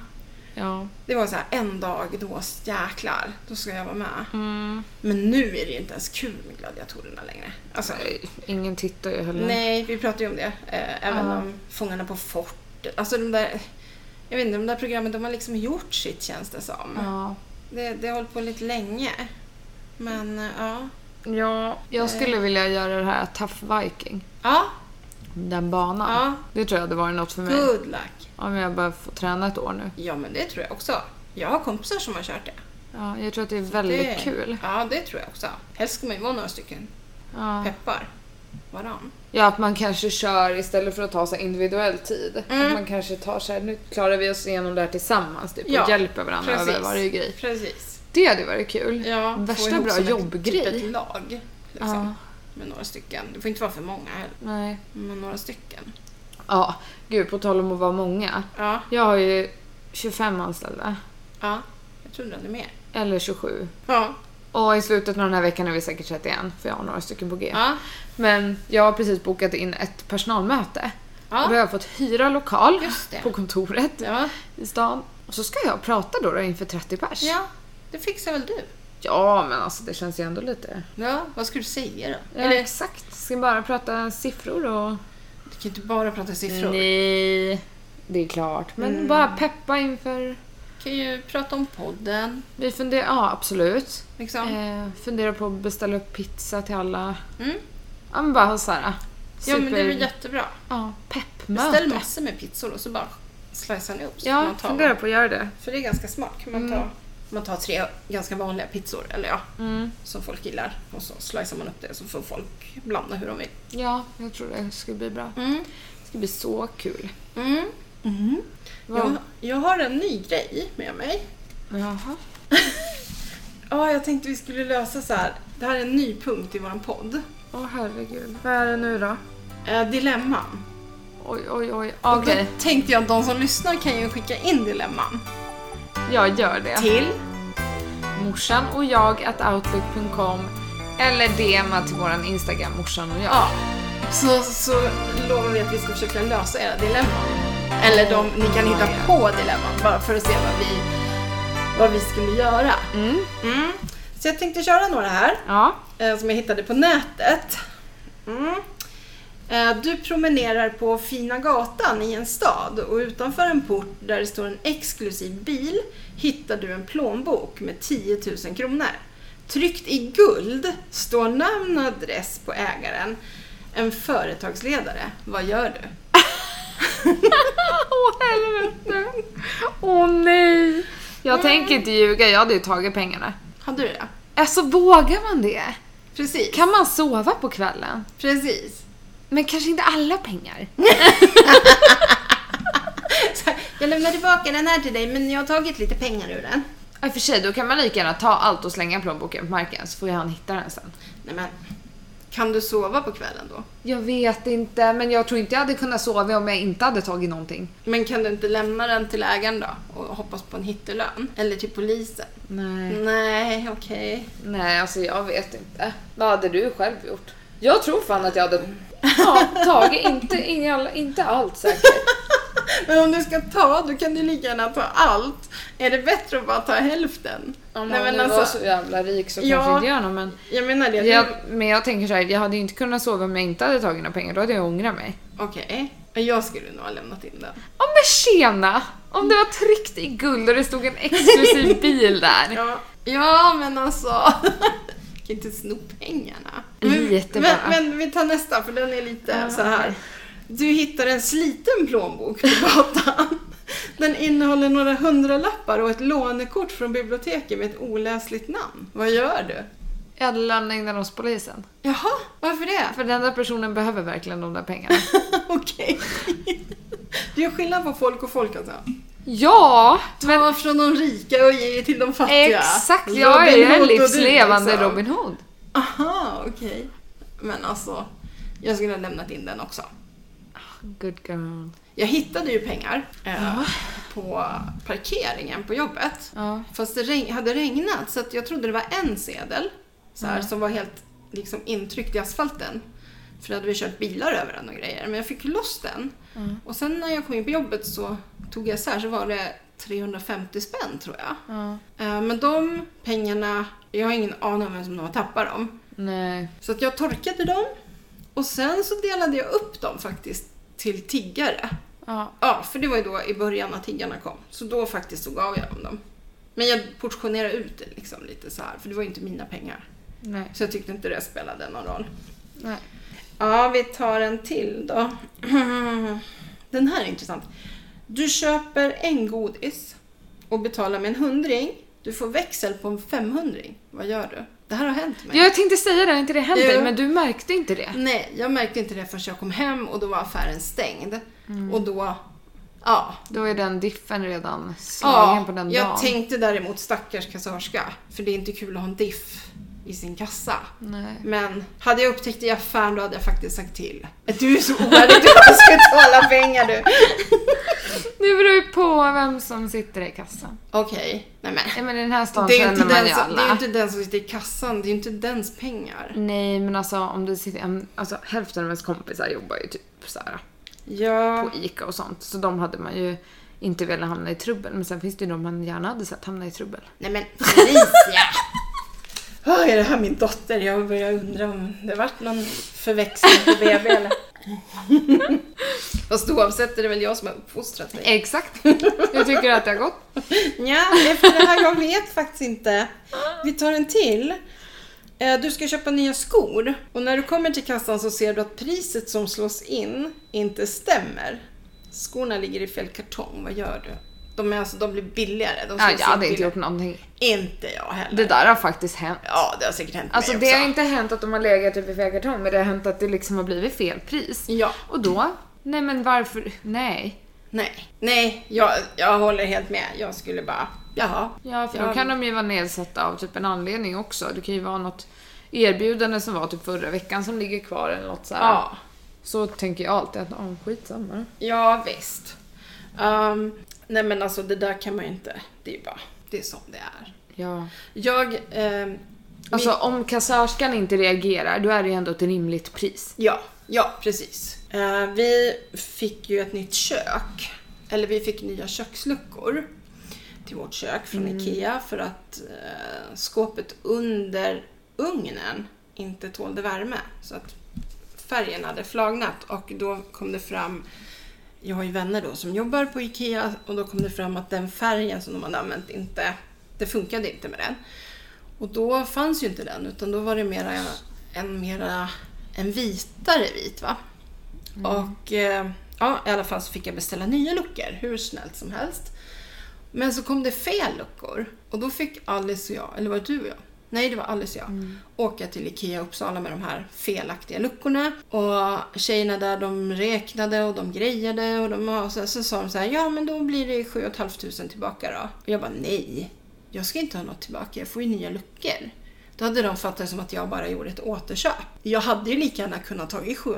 A: Ja.
B: Det var så här, en dag då, jäklar, då ska jag vara med.
A: Mm.
B: Men nu är det ju inte ens kul med gladiatorerna längre. Alltså,
A: Nej, Ingen tittar ju heller.
B: nej, vi pratade ju om det. Eh, även
A: Ja.
B: om Fångarna på fortet. Alltså de där, jag vet inte, de där programmen, de har liksom gjort sitt känns det som.
A: Ja.
B: Det, det har hållit på lite länge. Men eh, ja.
A: ja, jag
B: Eh.
A: skulle vilja göra det här Tough Viking.
B: Ja,
A: Den banan.
B: ja.
A: Det tror jag hade varit något för mig.
B: Good luck.
A: Om jag bara får träna ett år nu.
B: Ja, men det tror jag också. Jag har kompisar som har kört det.
A: Ja, jag tror att det är väldigt
B: det
A: kul.
B: Ja, det tror jag också. Helst ska man ju vara några stycken.
A: Ja.
B: Peppar varann.
A: ja, att man kanske kör istället för att ta så här individuell tid.
B: Mm.
A: Att man kanske tar så här, nu klarar vi oss igenom det här tillsammans typ,
B: Ja,
A: och hjälper varandra
B: precis.
A: över varje grej.
B: Precis.
A: Det hade varit kul.
B: Ja, få
A: Värsta
B: ihop
A: bra
B: som ett-
A: jobbgrej.
B: Typ ett lag. Liksom,
A: Ja,
B: Med några stycken. Det får inte vara för många heller.
A: nej.
B: Men några stycken.
A: Ja, gud på tal om att vara många.
B: Ja,
A: Jag har ju 25 anställda.
B: ja. Jag trodde du hade mer.
A: Eller 27.
B: Ja.
A: Och i slutet av den här veckan är vi säkert 31 för jag har några stycken på G.
B: Ja.
A: Men jag har precis bokat in ett personalmöte. Och då har
B: Ja.
A: jag fått hyra lokal
B: Just det.
A: på kontoret
B: Ja.
A: i stan. Och så ska jag prata då, då inför 30 pers.
B: ja. Det fixar väl du?
A: Ja, men alltså det känns ju ändå lite...
B: Ja. Vad ska du säga då?
A: Ja,
B: Eller,
A: exakt. Ska bara prata siffror och...
B: du kan ju inte bara prata siffror.
A: Nej, det är klart. Men
B: Mm.
A: bara peppa inför...
B: Du kan ju prata om podden.
A: Vi funderar... Ja, absolut.
B: Liksom.
A: Eh, funderar på att beställa upp pizza till alla.
B: Mm.
A: Ja, men bara ha så här... Super...
B: Ja, men det är väl jättebra.
A: Ja, peppmöte.
B: Beställ massor med pizzor och så bara slicear ni upp. så kan
A: Ja, Mm.
B: man ta-
A: funderar på att göra det.
B: För det är ganska smart. Kan man, ta, man tar tre ganska vanliga pizzor, eller ja,
A: Mm.
B: som folk gillar. Och så slicear man upp det så får folk blanda hur de vill.
A: Ja, jag tror det skulle bli bra.
B: Mm.
A: Det ska bli så kul.
B: Mm. Mm. Jag,
A: Vad-
B: jag har en ny grej med mig.
A: Jaha.
B: Ja, jag tänkte vi skulle lösa så här. Det här är en ny punkt i våran podd.
A: Åh herregud. Vad är det nu då?
B: Eh, dilemman.
A: Oj, oj, oj.
B: Och
A: Okej,
B: Då tänkte jag att de som lyssnar kan ju skicka in dilemman.
A: jag gör det.
B: Till?
A: Morsan och jag at outlook.com eller DMa till våran Instagram, morsan och jag.
B: Ja. Så, så lovar vi att vi ska försöka lösa era dilemman. Eller de, ni kan hitta på dilemman bara för att se vad vi, vad vi skulle göra.
A: Mm.
B: Mm. Så jag tänkte köra några här
A: Ja.
B: eh, som jag hittade på nätet. Mm. Eh, Du promenerar på fina gatan i en stad och utanför en port där det står en exklusiv bil hittar du en plånbok med 10 000 kronor. Tryckt i guld står namn och adress på ägaren. En företagsledare. Vad gör du?
A: *laughs* Åh helvete. Åh nej. Jag tänker inte ljuga, jag hade ju tagit pengarna.
B: Hade du det?
A: Alltså vågar man det?
B: Precis.
A: Kan man sova på kvällen?
B: Precis.
A: Men kanske inte alla pengar.
B: Så här, jag lämnar tillbaka den här till dig men jag har tagit lite pengar ur den.
A: Ja, I och för sig, då kan man lika gärna ta allt och slänga plånboken på marken så får ju han hitta den sen.
B: Nej men, kan du sova på kvällen då?
A: Jag vet inte, men jag tror inte jag hade kunnat sova om jag inte hade tagit någonting.
B: Men kan du inte lämna den till ägaren då? Och hoppas på en hittelön? Eller till polisen?
A: Nej.
B: Nej, okej.
A: Nej, alltså jag vet inte. Vad hade du själv gjort? Jag tror fan att jag hade *laughs* ja, tagit, inte, inga, inte allt säkert.
B: Men om du ska ta, då kan du lika gärna ta allt. Är det bättre att bara ta hälften?
A: Om
B: Nej,
A: man
B: men
A: nu var
B: alltså,
A: så jävla rik så
B: Ja.
A: kanske inte gör något men...
B: jag menar det.
A: Jag, men jag tänker så här, jag hade ju inte kunnat sova om jag inte hade tagit några pengar, då hade jag ångrat mig.
B: Okej. Men Jag skulle nog ha lämnat in den.
A: Ja men tjena! Om det var tryckt i guld och det stod en *laughs* exklusiv bil där.
B: Ja, ja men alltså. *laughs* Jag kan inte sno pengarna.
A: Lite
B: men,
A: bara.
B: men vi tar nästa för den är lite
A: Ja,
B: så här.
A: okej.
B: Du hittar en sliten plånbok på gatan. Den innehåller några hundralappar och ett lånekort från biblioteket med ett oläsligt namn. Vad gör du?
A: Jag hade lämnat in den hos polisen.
B: Jaha, varför det?
A: För den där personen behöver verkligen de där pengarna.
B: *laughs* Okej. Du gör skillnad på folk och folk alltså.
A: Ja!
B: Ta från de rika och ge till de fattiga.
A: Exakt! Jag är
B: Robin
A: en
B: Hood och du,
A: livslevande
B: liksom.
A: Robin Hood.
B: Aha, okej. Men alltså, Jag skulle ha lämnat in den också.
A: Good girl.
B: Jag hittade ju pengar eh,
A: Ja.
B: på parkeringen på jobbet.
A: Ja.
B: Fast det reg- hade regnat så att jag trodde det var en sedel så här, som var helt liksom, intryckt i asfalten. För då hade vi kört bilar över den och grejer. Men jag fick loss den. Och sen när jag kom in på jobbet så tog jag isär så var det 350 spänn tror jag.
A: ja.
B: Eh, Men de pengarna, jag har ingen aning om vem som har tappat dem.
A: Nej.
B: Så att jag torkade dem och sen så delade jag upp dem faktiskt till tiggare.
A: Ja.
B: Ja, för det var ju då i början när tiggarna kom. Så då faktiskt så gav jag dem dem. Men jag portionerade ut det liksom lite så här, för det var ju inte mina pengar.
A: Nej.
B: Så jag tyckte inte det spelade någon roll.
A: Nej.
B: Ja, vi tar en till då. *clears throat* Den här är intressant. Du köper en godis och betalar med en hundring. Du får växel på en femhundring. Vad gör du? Det här har hänt mig.
A: Jag tänkte säga det, har inte det hänt
B: Jo.
A: dig? Men du märkte inte det.
B: Nej, jag märkte inte det förrän jag kom hem och då var affären stängd.
A: Mm.
B: Och då, ja.
A: Då är den diffen redan slagen
B: ja
A: på den
B: jag
A: dagen.
B: tänkte däremot stackars kassörska. För det är inte kul att ha en diff i sin kassa.
A: Nej.
B: Men hade jag upptäckt det i affären då hade jag faktiskt sagt till. Du är så oärlig, du bara ska betala pengar du.
A: Det beror ju på vem som sitter i kassan.
B: Okej, nej men.
A: Nej men i den här stan
B: Det är, ju
A: känner
B: inte
A: man
B: den
A: ju
B: som, det är ju
A: alla.
B: inte den som sitter i kassan, det är ju inte dens pengar.
A: Nej men alltså om det sitter en, alltså hälften av ens kompisar jobbar ju typ såhär
B: Ja,
A: på ICA och sånt. Så de hade man ju inte velat hamna i trubbel. Men sen finns det ju de man gärna hade sett hamna i trubbel.
B: nej men Felicia! *laughs* Åh, är det här min dotter? Jag börjar undra om det vart någon förväxling på BB eller? *laughs* Fast oavsett är det väl jag som har uppfostrat dig.
A: Exakt! *laughs* Jag tycker att det har gått.
B: Ja, efter det här, jag vet faktiskt inte. Vi tar en till. Eh, Du ska köpa nya skor och när du kommer till kassan så ser du att priset som slås in inte stämmer. Skorna ligger i fel kartong, vad gör du? De, är alltså, de blir billigare. De
A: Ja,
B: slås
A: jag
B: in
A: hade inte
B: billigare.
A: gjort någonting.
B: Inte jag heller.
A: Det där har faktiskt hänt.
B: Ja, det har säkert hänt
A: Alltså
B: mig
A: det har
B: också.
A: inte hänt att de har legat typ i fel kartong men det har hänt att det liksom har blivit fel pris.
B: Ja.
A: Och då? Nej men varför? Nej.
B: Nej, nej jag, jag håller helt med. Jag skulle bara, jaha.
A: Ja, för
B: Ja.
A: då kan de ju vara nedsatta av typ en anledning också. Det kan ju vara något erbjudande som var typ förra veckan som ligger kvar eller något så här.
B: Ja,
A: Så tänker jag alltid att, åh skitsamma.
B: ja visst. Ehm, nej men alltså det där kan man ju inte. Det är ju bara, det är som det är.
A: Ja.
B: Jag... ehm,
A: Alltså om kassörskan inte reagerar, då är det ju ändå ett rimligt pris.
B: Ja, ja precis. Eh, vi fick ju ett nytt kök. Eller vi fick nya köksluckor till vårt kök från IKEA för att eh, skåpet under ugnen inte tålde värme. Så att färgen hade flagnat och då kom det fram jag har ju vänner då som jobbar på IKEA och då kom det fram att den färgen som de hade använt inte, det funkade inte med den. Och då fanns ju inte den utan då var det mera en, mera, en vitare vit va. Och eh, ja, i alla fall så fick jag beställa nya luckor hur snällt som helst. Men så kom det fel luckor och då fick Alice och jag, eller var det du och jag? Nej, det var Alice och jag. Åka till Ikea Uppsala med de här felaktiga luckorna. Och tjejerna där de räknade och de grejade och de och så, så sa de så här, ja men då blir det 7 500 tillbaka då. Och jag bara nej, jag ska inte ha något tillbaka, jag får ju nya luckor. Då hade de fattat det som att jag bara gjorde ett återköp. Jag hade ju lika gärna kunnat ta i 7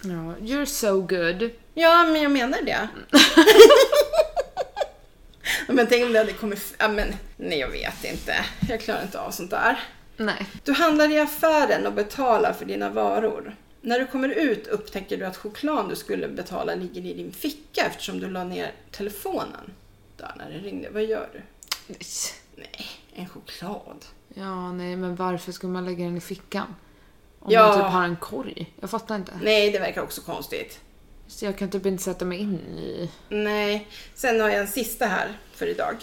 B: 500.
A: Ja, you're so good.
B: Ja, men jag menar det. men tänk om det hade kommit... Ja, men, nej, jag vet inte. Jag klarar inte av sånt där.
A: Nej.
B: Du handlar i affären och betalar för dina varor. När du kommer ut upptäcker du att chokladen du skulle betala ligger i din ficka eftersom du la ner telefonen där när det ringde. Vad gör du?
A: Nej.
B: Nej, en choklad.
A: Ja, nej men varför skulle man lägga den i fickan? Om
B: Ja.
A: man typ har en korg. Jag fattar inte.
B: Nej, det verkar också konstigt.
A: Så jag kan typ inte sätta mig in i...
B: Nej, sen har jag en sista här för idag.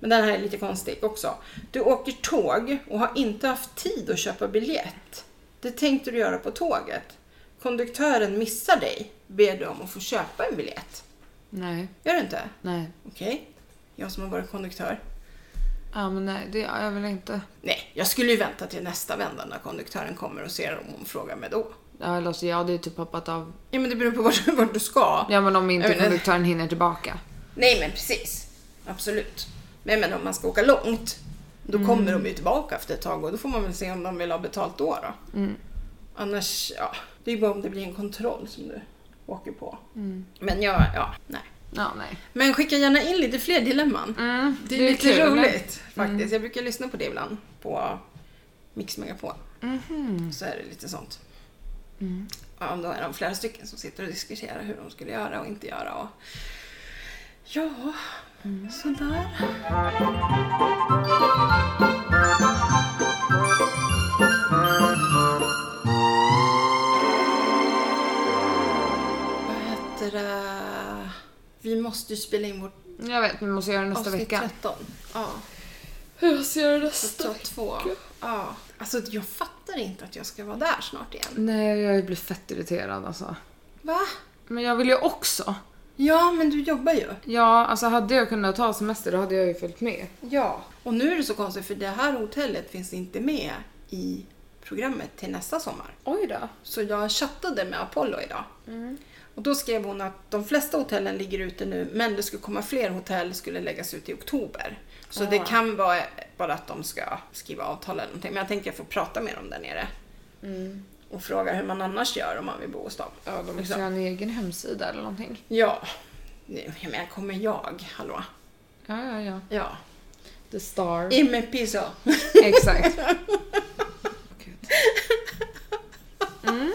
B: Men den här är lite konstig också. Du åker tåg och har inte haft tid att köpa biljett. Det tänkte du göra på tåget. Konduktören missar dig. Ber du om att få köpa en biljett?
A: Nej,
B: Gör du inte?
A: nej.
B: Okej. Jag som har varit konduktör.
A: Ja men nej, det gör jag väl inte.
B: Nej, jag skulle ju vänta till nästa vända när konduktören kommer och ser om hon frågar mig då.
A: Ja, eller så jag hade ju typ hoppat av.
B: Ja, men det beror på vart, vart du ska.
A: Ja men om
B: Jag
A: inte
B: menar-
A: konduktören hinner tillbaka.
B: Nej, men precis. Absolut. Men, men om man ska åka långt, då kommer de ju tillbaka efter ett tag och då får man väl se om de vill ha betalt då. då. Annars, ja. Det är ju bara om det blir en kontroll som du åker på.
A: Mm.
B: Men jag, ja, nej.
A: Ja, nej.
B: Men skicka gärna in lite fler dilemman.
A: Mm,
B: Det är, lite
A: kul. Mm.
B: roligt faktiskt. Jag brukar lyssna på det ibland på Mix Megapol.
A: Mhm.
B: Så är det lite sånt.
A: Mm.
B: Ja, om då är de flera stycken som sitter och diskuterar hur de skulle göra och inte göra. Och... Ja,
A: Mm.
B: sådär. Vad heter det? Vi måste ju spela in vårt
A: Jag vet, men vi måste göra det nästa
B: avsnitt
A: vecka.
B: 13. Ja.
A: Jag måste göra det
B: Så Alltså, två. Ja. Alltså jag fattar inte att jag ska vara där snart igen.
A: Nej, jag blir fett irriterad alltså.
B: Va?
A: Men jag vill ju också.
B: Ja, men du jobbar ju.
A: Ja, alltså hade jag kunnat ta semester då hade jag ju följt med.
B: Ja. Och nu är det så konstigt för det här hotellet finns inte med i programmet till nästa sommar.
A: Oj då.
B: Så jag chattade med Apollo idag. Och då skrev hon att de flesta hotellen ligger ute nu men det skulle komma fler hotell skulle läggas ut i oktober. Så det kan vara bara att de ska skriva avtal eller någonting. Men jag tänker jag får prata med dem där nere.
A: Mm.
B: Och fråga hur man annars gör om man vill bo hos dem.
A: Ja, de måste
B: Liksom.
A: ju ha en egen hemsida eller någonting.
B: Ja. Nu, jag menar, kommer jag? Hallå?
A: Ja, ja, ja.
B: Ja.
A: The Star. *laughs*
B: Imme piso.
A: Exakt. Gud. Mm.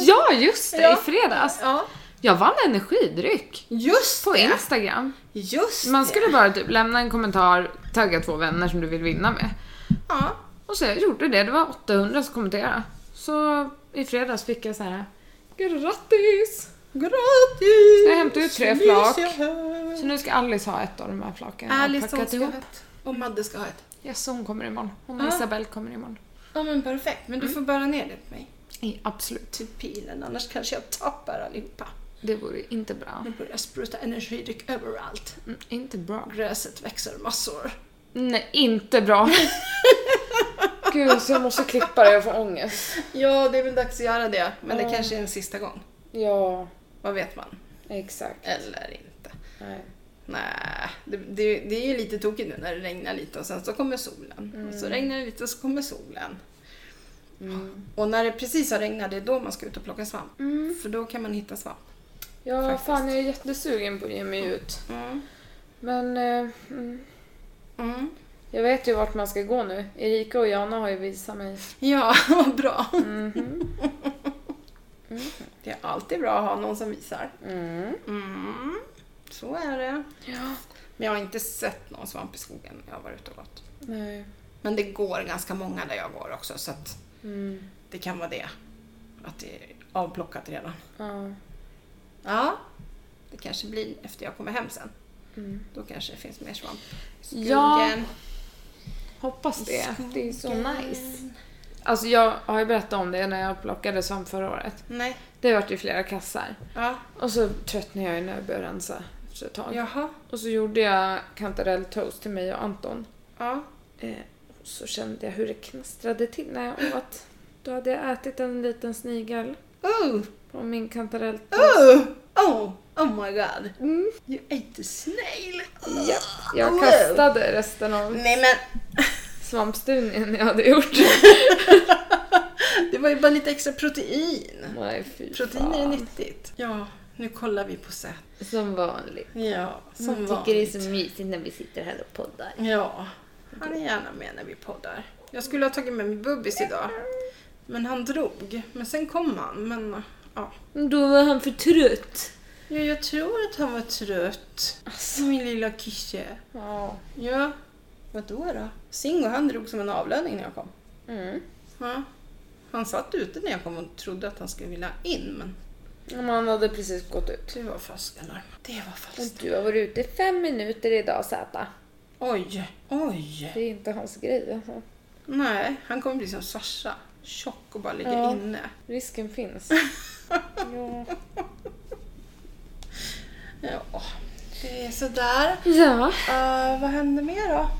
A: Ja, just det!
B: Ja.
A: I fredags.
B: Ja.
A: Jag vann energidryck.
B: Just
A: På
B: det!
A: Instagram.
B: Just
A: Man
B: det.
A: skulle bara typ lämna en kommentar, tagga två vänner som du vill vinna med.
B: Ja.
A: Och så jag gjorde det, det var 800 som kommenterade. Så i fredags fick jag så här. Grattis!
B: Gratis!
A: Jag hämtade ut tre flak.
B: Lyser här.
A: Så nu ska Alice ha ett av de här flaken. Jag har
B: Alice
A: packat
B: ska
A: ihop.
B: ha ett. Och Madde ska ha ett.
A: Yes, hon kommer imorgon. Hon och
B: Ja.
A: Isabelle kommer imorgon.
B: Ja men perfekt. Men du
A: Mm.
B: får bära ner det till mig.
A: I, absolut.
B: Till pilen. Annars kanske jag tappar allihopa.
A: Det vore inte bra.
B: Nu börjar jag spruta energidryck överallt.
A: Mm, inte bra.
B: Gräset växer massor.
A: Nej, inte bra. *laughs* Gud, så jag måste klippa det. Jag får ångest.
B: Ja, det är väl dags att göra det. Men det
A: Ja.
B: kanske är en sista gång.
A: Ja,
B: Vad vet man?
A: exakt.
B: Eller inte.
A: Nej.
B: Nej, det, det, det är ju lite tokigt nu när det regnar lite och sen så kommer solen. Och så regnar det lite och så kommer solen.
A: Mm.
B: Och när det precis har regnat, det är då man ska ut och plocka svamp. För då kan man hitta svamp.
A: Ja,
B: Faktiskt.
A: fan jag är jättesugen på att ge mig ut.
B: Mm.
A: Men eh, mm,
B: Mm.
A: jag vet ju vart man ska gå nu. Erika och Jana har ju visat mig.
B: Ja, *laughs* vad bra.
A: Mhm.
B: Det är alltid bra att ha någon som visar.
A: *laughs* Mm.
B: Mm. Så är det.
A: Ja.
B: Men jag har inte sett någon svamp i skogen när jag har varit ute och gått.
A: Nej.
B: Men det går ganska många där jag går också så att
A: Mm.
B: det kan vara det. Att det är avplockat redan.
A: Ja.
B: Ja, det kanske blir efter jag kommer hem sen.
A: Mm.
B: Då kanske det finns mer svamp.
A: Ja,
B: Skogen.
A: Hoppas det. Det är så
B: Skogen.
A: nice. Alltså jag har ju berättat om det när jag plockade svamp förra året.
B: Nej.
A: Det har varit i flera kassar.
B: Ja.
A: Och så tröttnade jag ju när jag började rensa efter ett tag.
B: Jaha.
A: Och så gjorde jag kantarelltoast till mig och Anton.
B: Ja.
A: Eh, och så kände jag hur det knastrade till när jag åt. Då hade jag ätit en liten snigel
B: Oh!
A: på min kantarelltoast.
B: Oh! Oh! Oh my god.
A: Mm.
B: You ate a snail.
A: Japp, jag
B: Wow.
A: kastade resten av
B: Nej men,
A: svampstuvningen jag hade gjort.
B: det var ju bara lite extra protein.
A: Nej, fy
B: Protein är
A: fan.
B: nyttigt. Ja, nu kollar vi på sätt.
A: Som vanligt.
B: Ja, som
A: mysigt när vi sitter här och poddar.
B: Ja, han är gärna med när vi poddar. Jag skulle ha tagit med mig Bubbis idag, men han drog. Men sen kom han, men ja.
A: Då var han för trött.
B: Ja, jag tror att han var trött. Min lilla kisse.
A: Ja.
B: Ja, vadå då? Singo han drog som en avlöning när jag kom.
A: Mm.
B: Ja. Han satt ute när jag kom och trodde att han skulle vilja in, men
A: Men han hade precis gått ut.
B: det var falskt alarm. Det var
A: Och
B: falskt.
A: du har varit ute i fem minuter idag Zäta.
B: Oj, oj.
A: Det är inte hans grej alltså.
B: Nej, han kommer bli som Sasha. Tjock och bara ligga
A: Ja.
B: inne.
A: Risken finns. ja.
B: Ja, det är sådär.
A: ja.
B: Uh, vad händer mer då?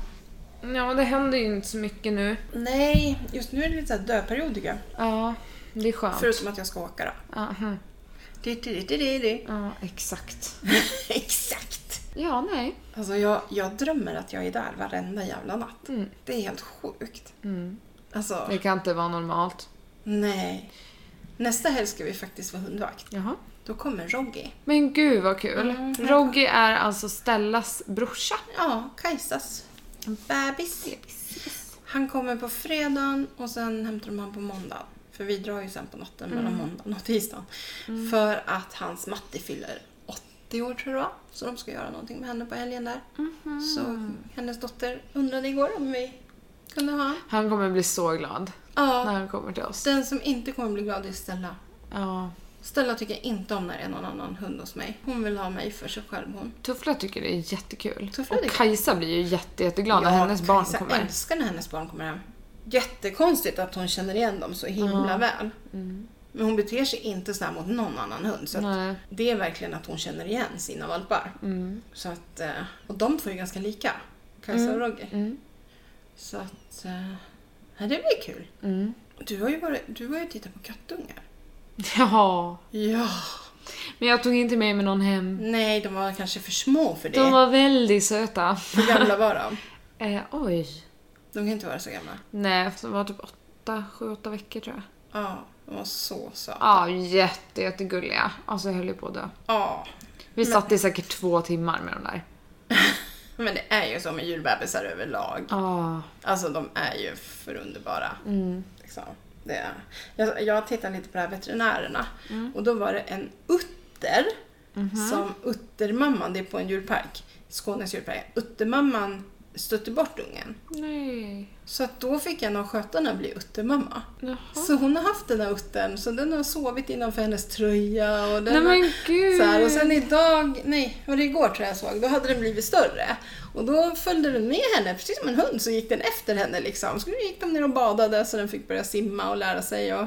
A: Ja, det händer ju inte så mycket nu.
B: Nej, just nu är det lite så här döperiod tycker jag.
A: Ja, det är skönt.
B: Förutom att jag ska åka då.
A: Aha.
B: Di, di, di, di, di, di.
A: Ja, exakt.
B: *laughs* Exakt!
A: Ja, nej.
B: Alltså jag, jag drömmer att jag är där varenda jävla natt.
A: Mm.
B: Det är helt sjukt.
A: Mm.
B: Alltså,
A: Det kan inte vara normalt.
B: Nej. Nästa helg ska vi faktiskt vara hundvakt.
A: Jaha.
B: Då kommer Rogge.
A: Men gud vad kul.
B: Mm.
A: Rogge är alltså Stellas brorsa.
B: Ja, Kajsas bebis. Han kommer på fredagen och sen hämtar de honom på måndag. För vi drar ju sen på natten
A: Mm.
B: mellan måndagen och tisdagen. För att hans matte fyller 80 år tror jag det var. Så de ska göra någonting med henne på helgen där.
A: Mhm.
B: Så hennes dotter undrade igår om vi kunde ha honom.
A: Han kommer bli så glad när
B: Ja,
A: han kommer till oss.
B: den som inte kommer bli glad är Stella.
A: Ja.
B: Stella tycker inte om när det är någon annan hund hos mig. Hon vill ha mig för sig själv hon.
A: Tuffla tycker det är jättekul.
B: Tuffla
A: Och
B: tycker-
A: Kajsa blir ju jätte, jätteglad när hennes barn
B: Kajsa
A: kommer.
B: älskar när hennes barn kommer hem. Jättekonstigt att hon känner igen dem så himla väl. Men hon beter sig inte så här mot någon annan hund. Så att
A: Mm. Nej. Mm.
B: det är verkligen att hon känner igen sina valpar. Så att, eh, och de två är ganska lika. Kajsa och Roger.
A: Mm.
B: Så att... eh, Ja, det blir kul.
A: Mm.
B: Du har ju, varit, du har ju tittat på kattungar.
A: *laughs* Ja.
B: Ja.
A: Men jag tog inte med mig någon hem.
B: Nej, de var kanske för små för det.
A: De var väldigt söta.
B: Hur gamla var de?
A: Eh, oj.
B: *laughs* De kan inte vara så gamla.
A: Nej, för de var typ 8, 7, 8 veckor tror jag.
B: Ja, de var så söta.
A: Ja, jätte, jättegulliga. Alltså jag höll ju på att dö.
B: Ja. *laughs*
A: Vi satt i säkert två timmar med de där.
B: Men det är ju så med djurbebisar överlag.
A: Ja.
B: Alltså de är ju för underbara. Liksom. Det är. Jag, jag tittade lite på det här veterinärerna och då var det en utter som uttermamman, det är på en djurpark, Skånes djurpark, uttermamman stötte bort ungen.
A: Nej.
B: Så att då fick en av skötarna bli uttermamma.
A: Jaha.
B: Så hon har haft den här uttern, så den har sovit innanför hennes tröja och
A: Nej
B: den har-
A: men gud.
B: så här, och sen idag, nej, var det igår tror jag jag såg, då hade den blivit större. Och då följde den med henne, precis som en hund, så gick den efter henne liksom. Så gick de ner och badade så den fick börja simma och lära sig. Och...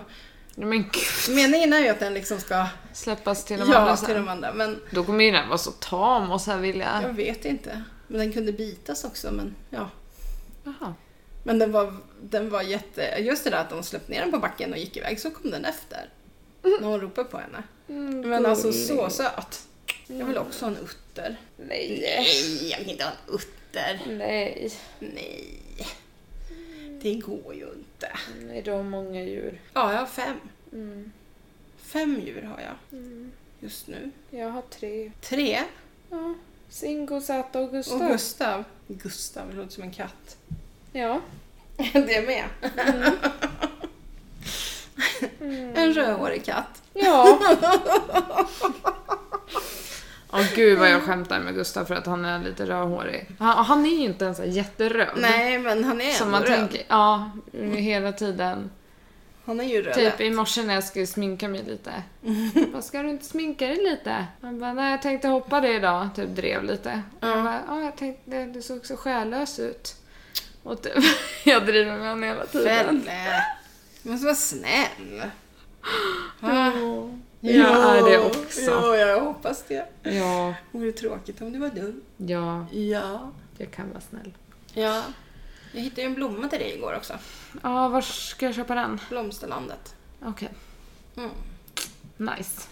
A: Nej men gud.
B: Meningen är ju att den liksom ska
A: Släppas till de andra
B: ja,
A: sen.
B: till de andra, men
A: Då kommer ju den vara så tam och så här vilja...
B: jag vet inte. Men den kunde bitas också, men ja.
A: Jaha.
B: Men den var, den var jätte... Just det där att de släppte ner den på backen och gick iväg, så kom den efter. När hon ropade på henne.
A: Mm,
B: Men alltså så söt. Jag vill också ha en utter.
A: Nej.
B: Nej, jag vill inte ha en utter.
A: Nej.
B: Nej. Det går ju inte.
A: Nej, du har många djur.
B: Ja, jag har fem.
A: Mm.
B: Fem djur har jag just nu.
A: Jag har tre.
B: Tre.
A: Ja. Singo, Zäta och Gustav.
B: Och Gustav. Gustav det låter som
A: *laughs*
B: en katt.
A: Ja.
B: Det är med. Mm. *laughs* En rödhårig katt.
A: *laughs* Ja. Åh gud vad jag skämtar med Gustav för att han är lite rödhårig. Han, han är ju inte ens så här jätteröd.
B: Nej, men han är
A: Mm. Som
B: ändå
A: man
B: röd.
A: tänker, ja, hela tiden.
B: Han är ju röd.
A: Typ i morse när jag skulle sminka mig
B: *laughs*
A: lite. Vad ska du inte sminka dig lite? Han bara, nej jag tänkte hoppa det idag. Typ drev lite. Och jag bara, ja jag tänkte, du såg så själlös ut. Och typ, *laughs* jag driver med honom hela tiden.
B: Fälle. Typ. Du måste
A: *gasps*
B: vara snäll.
A: Ja. Jag är det också.
B: Ja, jag hoppas det.
A: Ja,
B: Vore tråkigt om du var dum.
A: ja,
B: Ja.
A: jag kan vara snäll.
B: Ja. Jag hittade ju en blomma till dig igår också.
A: Ja, var ska jag köpa den?
B: Blomsterlandet.
A: Okej,
B: Mm.
A: nice.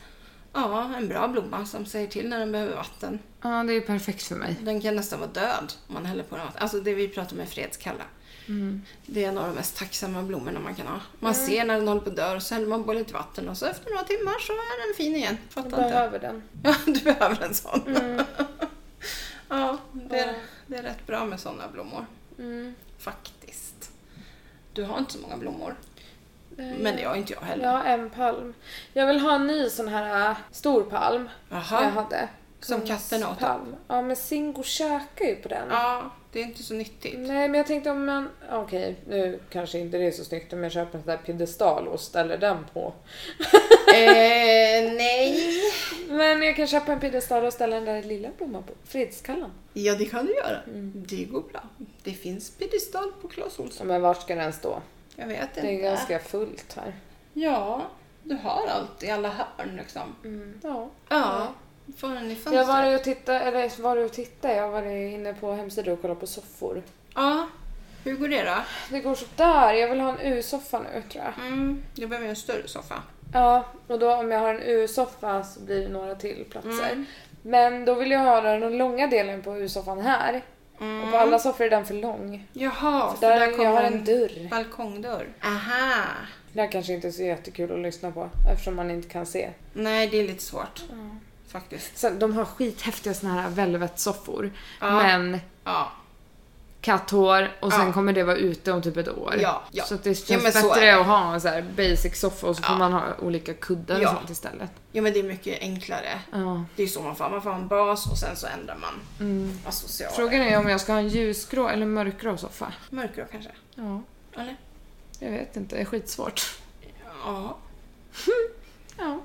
B: Ja, en bra blomma som säger till när den behöver vatten.
A: Ja, det är ju perfekt för mig.
B: Den kan nästan vara död om man häller på den vatten. Alltså det vi pratar om är fredskalla. Det är en av de mest tacksamma blommorna man kan ha. Man ser när den håller på att dö och så häller man på lite vatten och så efter några timmar så är den fin igen. Fattar inte.
A: den.
B: Ja, du behöver en sån. *laughs* ja, det är, det är rätt bra med sådana blommor. Faktiskt. Du har inte så många blommor. Men det har inte jag heller.
A: har en palm. Jag vill ha en ny sån här äh, stor palm.
B: Jaha.
A: jag hade. Mm.
B: Som katterna åt upp.
A: palm. Ja, men Singo käkar ju på den.
B: Ja, det är inte
A: *laughs*
B: så nyttigt.
A: Nej, men jag tänkte om man... Okej, nu kanske inte det är så snyggt om jag köper en sån där piedestal och ställer den på.
B: eh, nej.
A: Men jag kan köpa en piedestal och ställa den där lilla blomman på. Fredskallan.
B: Ja, det kan du göra.
A: Mm.
B: Det går bra. Det finns piedestal på Clas Ohlson.
A: Ja, men var ska den stå?
B: Jag vet inte.
A: Det är ganska fullt här.
B: Ja, du har allt i alla hörn liksom.
A: Ja.
B: Ja, du får den i fönstret.
A: Mm. Jag var och tittade, eller var och tittade, jag var inne på hemsidan och kollade på soffor.
B: Ja, hur går det då?
A: Det går så där. jag vill ha en U-soffa nu tror jag.
B: Mm, du behöver en större soffa.
A: Ja, och då om jag har en U-soffa Mm. så blir det några till platser. Men då vill jag ha den långa delen på U-soffan här
B: Mm.
A: Och på alla soffor är den för lång.
B: Jaha,
A: Där,
B: kommer
A: jag har en dörr.
B: balkongdörr. Aha!
A: Det här kanske inte är så jättekul att lyssna på eftersom man inte kan se.
B: Nej, det är lite svårt. Faktiskt.
A: Sen, de har skithäftiga såna här velvet-soffor.
B: Ja.
A: Men
B: Ja.
A: katthår och sen
B: Ja.
A: kommer det vara ute om typ ett år.
B: Ja, ja.
A: Så att det känns
B: Ja, men så är
A: bättre
B: det.
A: att ha en så här basic soffa och så får
B: Ja.
A: man ha olika kuddar och
B: Ja.
A: sånt istället.
B: Jo men det är mycket enklare.
A: Ja. Mm.
B: Det är ju så man får, man får ha en bas och sen så ändrar man Alltså, associaler.
A: Frågan är om jag ska ha en ljusgrå eller mörkgrå soffa.
B: Mörkgrå kanske?
A: Ja,
B: Eller?
A: jag vet inte. Det är skitsvårt.
B: Ja.
A: Ja.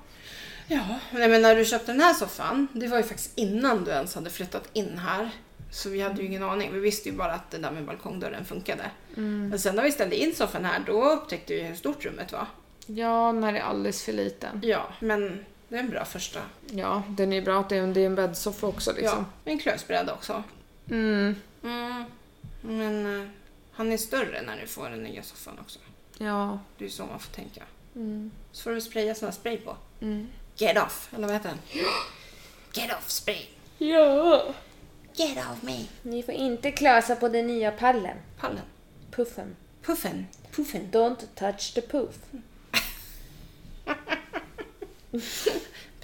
B: Ja, nej, men när du köpte den här soffan, det var ju faktiskt innan du ens hade flyttat in här. Så vi hade ju ingen aning. Vi visste ju bara att det där med balkongdörren funkade.
A: Mm.
B: Men sen när vi ställde in soffan här, då upptäckte vi hur stort rummet var.
A: Ja, den här är alldeles för liten.
B: Ja, men det är en bra första.
A: Ja, den är ju bra att det är en, det är en bäddsoffa också liksom.
B: Ja, en klösbräda också.
A: Ja. Mm.
B: Mm. Men eh, han är större när du får den nya soffan också.
A: Ja.
B: Det är ju så man får tänka.
A: Mm.
B: Så får du spraya sån här spray på.
A: Mm.
B: Get off, eller vad heter den? Get off spray.
A: Ja.
B: Get off me.
C: Ni får inte klösa på den nya pallen.
B: Pallen.
C: Puffen.
B: Puffen. Puffen.
C: Don't touch the puff.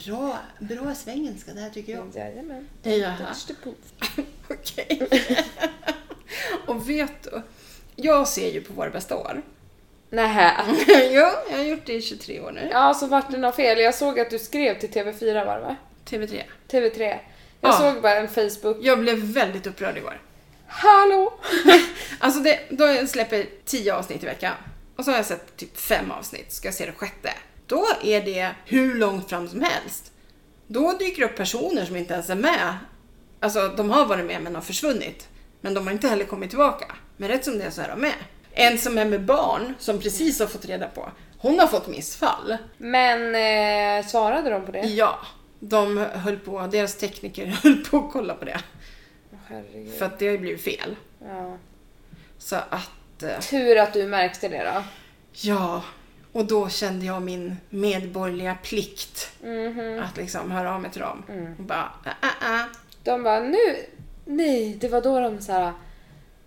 B: Bra, bra svengelska det här tycker jag.
C: Jajamän.
B: Det gör jag.
C: Touch the puff.
B: Okej. *laughs* Och vet du? Jag ser ju på Våra bästa år.
A: Nähä.
B: *laughs* jo, jag har gjort det i 23 år nu.
A: Ja, så vart det något fel. Jag såg att du skrev till TV4 var det, va?
B: TV3.
A: TV3. Jag
B: Ja.
A: såg bara en Facebook.
B: Jag blev väldigt upprörd igår.
A: Hallå!
B: Alltså det, då släpper 10 avsnitt i veckan. Och så har jag sett typ fem avsnitt, ska jag se det sjätte. Då är det hur långt fram som helst. Då dyker det upp personer som inte ens är med. Alltså de har varit med men har försvunnit. Men de har inte heller kommit tillbaka. Men rätt som det är så är de med. En som är med barn, som precis har fått reda på, hon har fått missfall.
A: Men eh, svarade de på det?
B: Ja, de höll på, deras tekniker *laughs* höll på att kolla på det.
A: Åh, Herregud.
B: För att det har ju blivit fel.
A: Ja.
B: Så att... eh,
A: Tur att du märkte det då.
B: Ja, och då kände jag min medborgerliga plikt
A: Mhm.
B: att liksom höra av mig till dem.
A: Mm.
B: Och bara, äh, äh, äh.
A: De bara nu, nej, det var då de så här.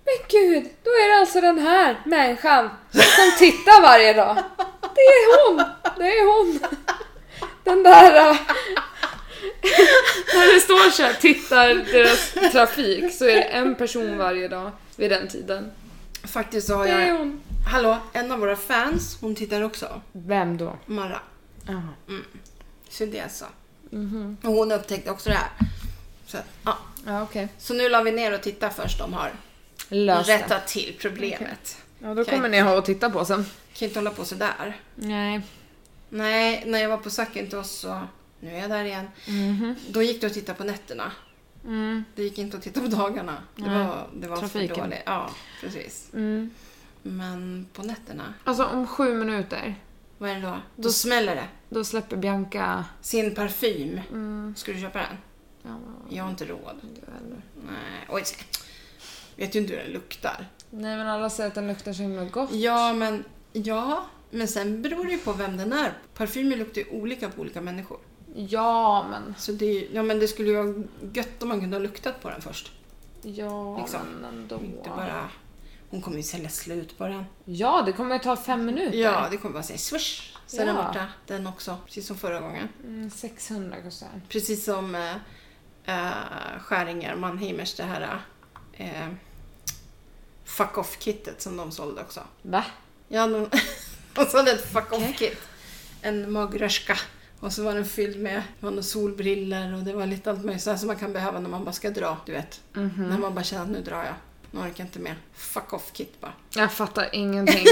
A: Men gud, då är det alltså den här människan som tittar varje dag. Det är hon, det är hon. Den där... äh, När det står så här, tittar deras trafik, så är det en person varje dag vid den tiden.
B: Faktiskt så har
A: Det är
B: jag,
A: hon.
B: hallå, en av våra fans, hon tittar också,
A: Vem då?
B: Mara. Så det är så.
A: Mhm.
B: Och hon upptäckte också det här. Så, att, ja.
A: Ja, okej.
B: så nu la vi ner och tittade först de har
A: Lös det.
B: rättat till problemet.
A: Ja, då kommer ni ha att titta på sen.
B: Kan inte hålla på sådär.
A: Nej.
B: Nej, när jag var på Sakintos så, nu är jag där igen, då gick det att titta på nätterna.
A: Mhm. Mm.
B: Det gick inte att titta på dagarna. Det
A: Nej,
B: var, det var för
A: trafiken.
B: dåligt. Ja, precis.
A: Mm.
B: Men på nätterna,
A: Alltså om sju minuter,
B: vad är det då? Då smäller det.
A: då släpper Bianca...
B: Sin parfym.
A: Mm.
B: Ska du köpa den?
A: Ja, Mm. men-
B: Jag har inte råd.
A: Eller-
B: Nej, oj. se. Vet ju inte hur den luktar.
A: Nej men alla säger att den luktar så himla gott.
B: Ja, men ja. Men sen beror det ju på vem den är. Parfymer luktar ju olika på olika människor.
A: Ja men,
B: Så det, är ju- ja, men det skulle ju vara gött om man kunde ha luktat på den först.
A: ja
B: Liksom.
A: men ändå.
B: Inte bara... Hon kommer ju sälja slut på den.
A: Ja det kommer ju ta fem minuter.
B: Ja, det kommer bara säga swish. Så är den
A: Ja.
B: borta, den också. Precis som förra gången.
A: Mm, 600 kostar den.
B: Precis som eh, eh, Skäringer, Mannheimers, det här eh, fuck off-kittet som de sålde också.
A: Va?
B: Ja, de, *laughs* de sålde ett fuck off-kit. En magrörska. Och så var den fylld med det var några solbriller och det var lite allt möjligt sådär som man kan behöva när man bara ska dra, du vet.
A: Mhm.
B: När man bara känner att nu drar jag. Nu orkar jag inte mer. Fuck off-kit bara.
A: Jag fattar ingenting.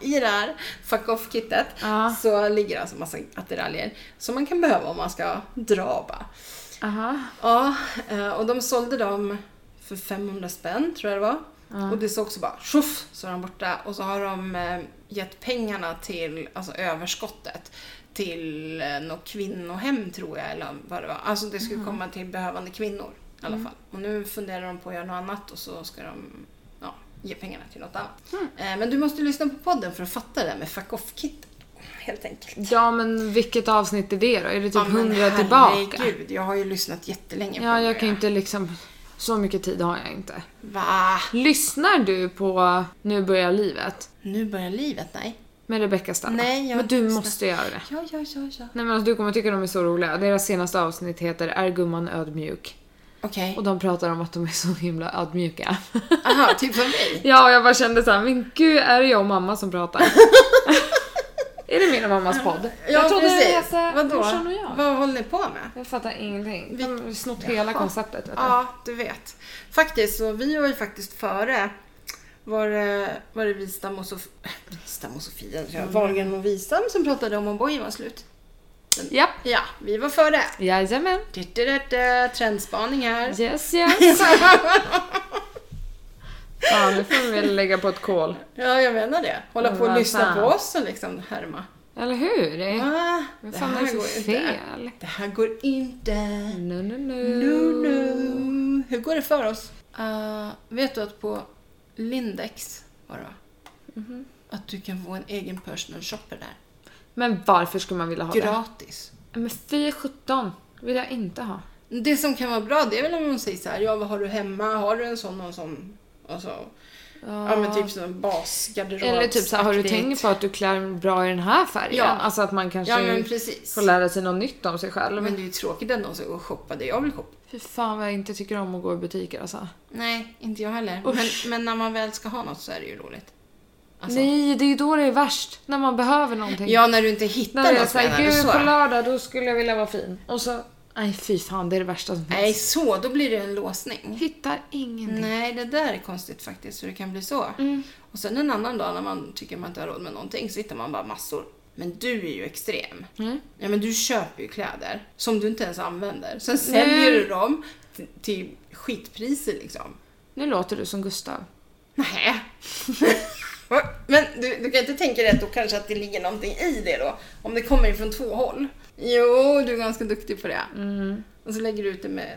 B: I det här fuck off-kittet
A: *laughs* Ja.
B: så ligger alltså massa attiraljer som man kan behöva om man ska dra bara.
A: Aha.
B: Ja, eh, och de sålde dem för 500 spänn tror jag det var. Och det såg också bara tjoff så är de borta. Och så har de eh, gett pengarna till, alltså överskottet, till eh, något kvinnohem tror jag eller vad det var. Alltså det
A: Mhm.
B: skulle komma till behövande kvinnor i
A: Mm.
B: alla fall. Och nu funderar de på att göra något annat och så ska de ja, ge pengarna till något annat.
A: Mm.
B: Eh, men du måste lyssna på podden för att fatta det där med fuck off-kit. Helt enkelt.
A: Ja men vilket avsnitt är det då? Är det typ
B: Ja, men
A: 100 tillbaka?
B: Herregud, jag har ju lyssnat jättelänge på
A: Ja
B: det.
A: jag kan ju inte liksom Så mycket tid har jag inte.
B: Va?
A: Lyssnar du på Nu börjar livet
B: Nu börjar livet, nej.
A: med Rebecca Stalla?
B: Nej, jag
A: Men du
B: lyssnar.
A: måste göra det.
B: Ja, ja, ja, ja.
A: Nej men alltså, du kommer tycka de är så roliga. Deras senaste avsnitt heter Är gumman ödmjuk?
B: Okej.
A: Och de pratar om att de är så himla ödmjuka.
B: *laughs* Aha, typ som vi.
A: ja, och jag bara kände såhär, men gud är det jag och mamma som
B: *laughs*
A: pratar? är det min och mammas podd? *laughs* jag trodde det hette Morsan och jag.
B: Vad håller ni på med?
A: Jag fattar ingenting.
B: Vi-
A: De har snott hela
B: Jaha.
A: konceptet vet du.
B: Ja, du vet. Faktiskt, så vi var ju faktiskt före eh, var det, var det Wistam och *laughs* Sof- Wistam och Sofia, tror jag.
A: Mm.
B: Wahlgren och Wistam som pratade om om bojen var slut.
A: Japp.
B: Ja, vi var före.
A: Jajamän.
B: Du-du-du-du, Trendspaning här. *laughs*
A: Yes yes. Fan, nu får vi väl lägga på ett kol.
B: Ja, jag menar det. Hålla
A: Men
B: på och
A: vad
B: lyssna
A: fan.
B: på oss och liksom härma.
A: Eller hur?
B: Ah,
A: Vad fan är det för fel?
B: Det här går inte.
A: No, no, no.
B: No,
A: Eh,
B: no. Hur går det för oss? Ah, vet du att på Lindex var det va?
A: Mhm.
B: Att du kan få en egen personal shopper där.
A: Men varför skulle man vilja ha
B: Gratis.
A: det? Men fy sjutton. vill jag inte ha.
B: Det som kan vara bra det är väl om de säger så här, ja vad har du hemma? Har du en sån och en sån? Och så. Ja, men typ som en basgarderob.
A: Eller typ så här, har du tänkt på att du klär bra i den här färgen?
B: Ja.
A: Alltså att man kanske
B: Ja men precis.
A: får lära sig något nytt om sig själv.
B: Men det är ju tråkigt ändå att gå och shoppa det jag vill shoppa.
A: Fy fan vad jag inte tycker om att gå i butiker alltså.
B: Nej, inte jag heller.
A: Usch.
B: Men, men när man väl ska ha något så är det ju roligt. Alltså.
A: Nej, det är ju då det är värst. När man behöver någonting.
B: Ja, när du inte hittar
A: När jag
B: något menar
A: säger
B: du
A: gud
B: så?
A: på lördag då skulle jag vilja vara fin. Och så, nej fy fan det är det värsta som finns.
B: Nej, så. Då blir det en låsning.
A: Hittar ingenting.
B: Nej, det där är konstigt faktiskt hur det kan bli så. Och sen en annan dag när man tycker man inte har råd med någonting så hittar man bara massor. Men du är ju extrem. Ja, men du köper ju kläder som du inte ens använder. Sen säljer du dem t- till skitpriser liksom.
A: Nu låter du som Gustav.
B: Nej. *laughs* Men du, du kan inte tänka dig att då kanske att det ligger någonting i det då? Om det kommer ifrån två håll? Mm. Jo, du är ganska duktig på det. Och så lägger du ut det med,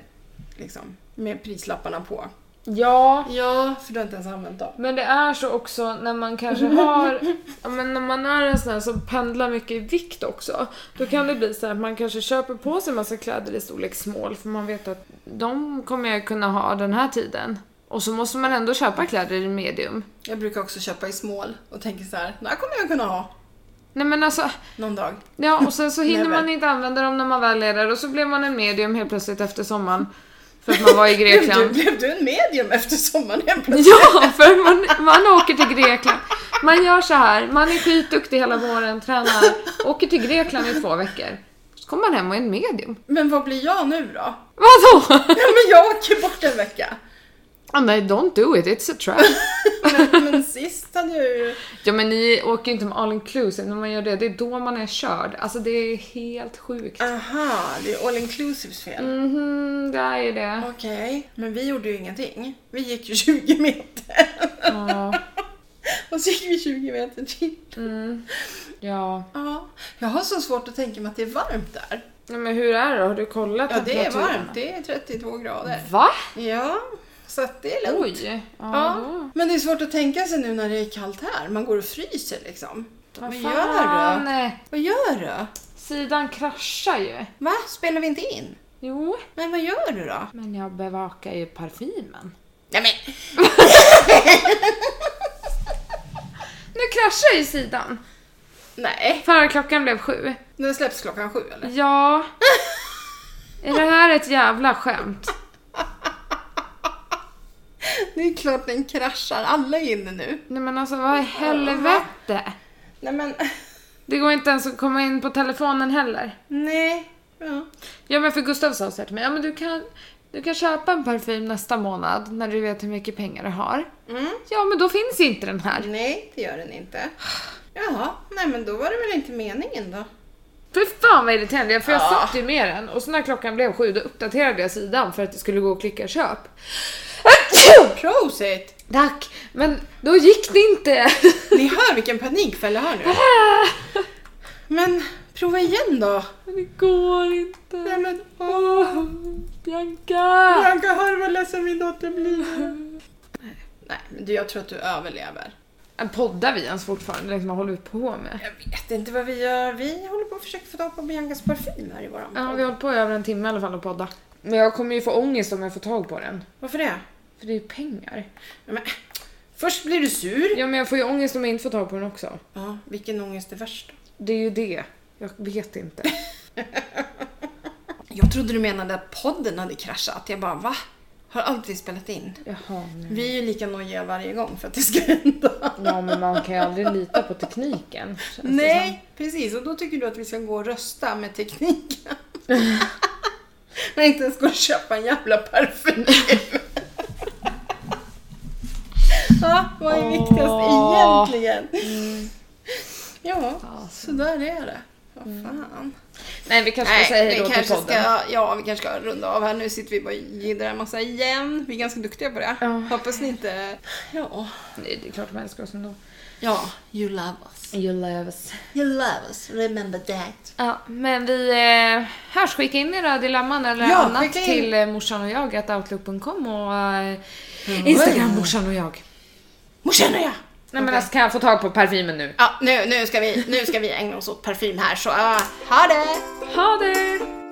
B: liksom, med prislapparna på.
A: Ja,
B: Ja, för du har inte ens använt dem.
A: men det är så också när man kanske har, *laughs* ja, men när man är en sån här som pendlar mycket i vikt också. Då kan det bli så här att man kanske köper på sig en massa kläder i storlek small för man vet att de kommer jag kunna ha den här tiden. Och så måste man ändå köpa kläder i medium.
B: Jag brukar också köpa i small och tänker så här, det här kommer jag kunna ha
A: Nej men alltså,
B: någon dag.
A: Ja, och sen *laughs* så hinner
B: Never.
A: man inte använda dem när man väl är där och så blev man en medium helt plötsligt efter sommaren. För att man var *laughs* i
B: Blev du,
A: Grekland.
B: blev du en medium efter sommaren helt
A: *laughs*
B: plötsligt?
A: Ja, för man, man åker till Grekland. Man gör så här, man är skitduktig hela våren, tränar, åker till Grekland i två veckor. Så kommer man hem och är en medium.
B: Men vad blir jag nu då?
A: Vadå?
B: Ja, men jag åker bort en vecka.
A: Ah, nej, don't do it, it's a trap.
B: Men, men sist hade jag ju...
A: Ja men ni åker ju inte med all inclusive, när man gör det, det är då man är körd. Alltså det är helt sjukt.
B: Aha, det är all inclusives fel.
A: Mhm, det är ju det.
B: Okej, men vi gjorde ju ingenting. Vi gick ju *laughs* 20 meter.
A: Ja.
B: Och så gick vi 20 meter till.
A: Mm. Ja.
B: Ja. Jag har så svårt att tänka mig att det är varmt där.
A: Nej, men hur är det då? Har du kollat
B: Ja, det är
A: temperaturen?
B: varmt. Det är 32 grader.
A: Va?
B: Ja, så att det är lugnt.
A: Oj! Ja.
B: Ja, men det är svårt att tänka sig nu när det är kallt här. Man går och fryser liksom. Vad,
A: Vad
B: gör du?
A: fan?
B: Vad gör du?
A: Sidan kraschar ju.
B: Va? Spelar vi inte in?
A: Jo,
B: Men vad gör du då?
A: men jag bevakar ju parfymen.
B: Nej men,
A: Nu kraschar ju sidan!
B: nej.
A: Förra klockan blev sju.
B: Den släpps klockan sju eller? *laughs*
A: *laughs* Ja. Är det här ett jävla skämt?
B: Det är klart den kraschar. Alla är inne nu.
A: Nej men alltså vad i helvete?
B: Nej men, *laughs*
A: Det går inte ens att komma in på telefonen heller.
B: nej. Ja.
A: Ja men för Gustav sa så här till mig, ja men du kan, du kan köpa en parfym nästa månad när du vet hur mycket pengar du har.
B: Mm.
A: Ja men då finns inte den här.
B: Nej, det gör den inte. Jaha, nej men då var det väl inte meningen då.
A: För fan vad irriterande jag för jag
B: Ja.
A: satt ju med den och så när klockan blev sju då uppdaterade jag sidan för att det skulle gå och klicka köp.
B: Prosit!
A: Tack! Men då gick det inte.
B: Ni hör vilken panikfälla jag har nu. Men prova igen då.
A: *laughs* Men det går inte.
B: Nej men,
A: Åh, Bianca!
B: Bianca, hör du vad ledsen min dotter blir? Nej, men du, jag tror att du överlever.
A: Men Poddar vi ens fortfarande? Liksom, vad håller vi på med?
B: Jag vet inte vad vi gör. Vi håller på att försöka få tag på Biancas parfym här i våran
A: Ja,
B: podd.
A: vi har hållit på i över en timme i alla fall och podda. Men jag kommer ju få ångest om jag får tag på den.
B: Varför det?
A: För det är ju pengar.
B: Ja, men, först blir du sur.
A: Ja men jag får ju ångest om jag inte får tag på den också.
B: Ja, vilken ångest är värst då?
A: Det är ju det. Jag vet inte.
B: Jag trodde du menade att podden hade kraschat. Jag bara, va? Har alltid spelat in.
A: Jaha, nej.
B: Vi är ju lika nojiga varje gång för att det ska hända.
A: Ja men man kan ju aldrig lita på tekniken. känns det
B: Nej, precis. Och då tycker du att vi ska gå och rösta med *laughs* tekniken. När inte ens går att köpa en jävla *laughs* parfym. ja, Ah, vad är viktigast
A: Åh.
B: egentligen? Mm. Ja, Mm.
A: Ja, så.
B: så där är det. Vad fan.
A: som. Nej vi kanske
B: Nej,
A: ska säga hej då
B: vi
A: till
B: kanske
A: podden.
B: ska, ja, vi kanske ska runda av här. Nu sitter vi bara och jiddrar en massa igen. Vi är ganska duktiga på det.
A: Ja.
B: Hoppas ni inte... Ja.
A: Nej, det är klart de älskar oss ändå.
B: Ja, you love us.
A: You love us.
B: You love us, remember that.
A: Ja, men vi eh, hörs. Skicka in era dilemman eller
B: Ja,
A: annat
B: skicka in.
A: till eh, morsan och jag att outlook.com och eh, Instagram morsan och jag.
B: Morsan och jag!
A: Nej men alltså kan jag få tag på parfymen nu?
B: Ja, nu, nu, ska vi, nu ska vi ägna oss åt parfym här, så uh, ha det!
A: Ha det!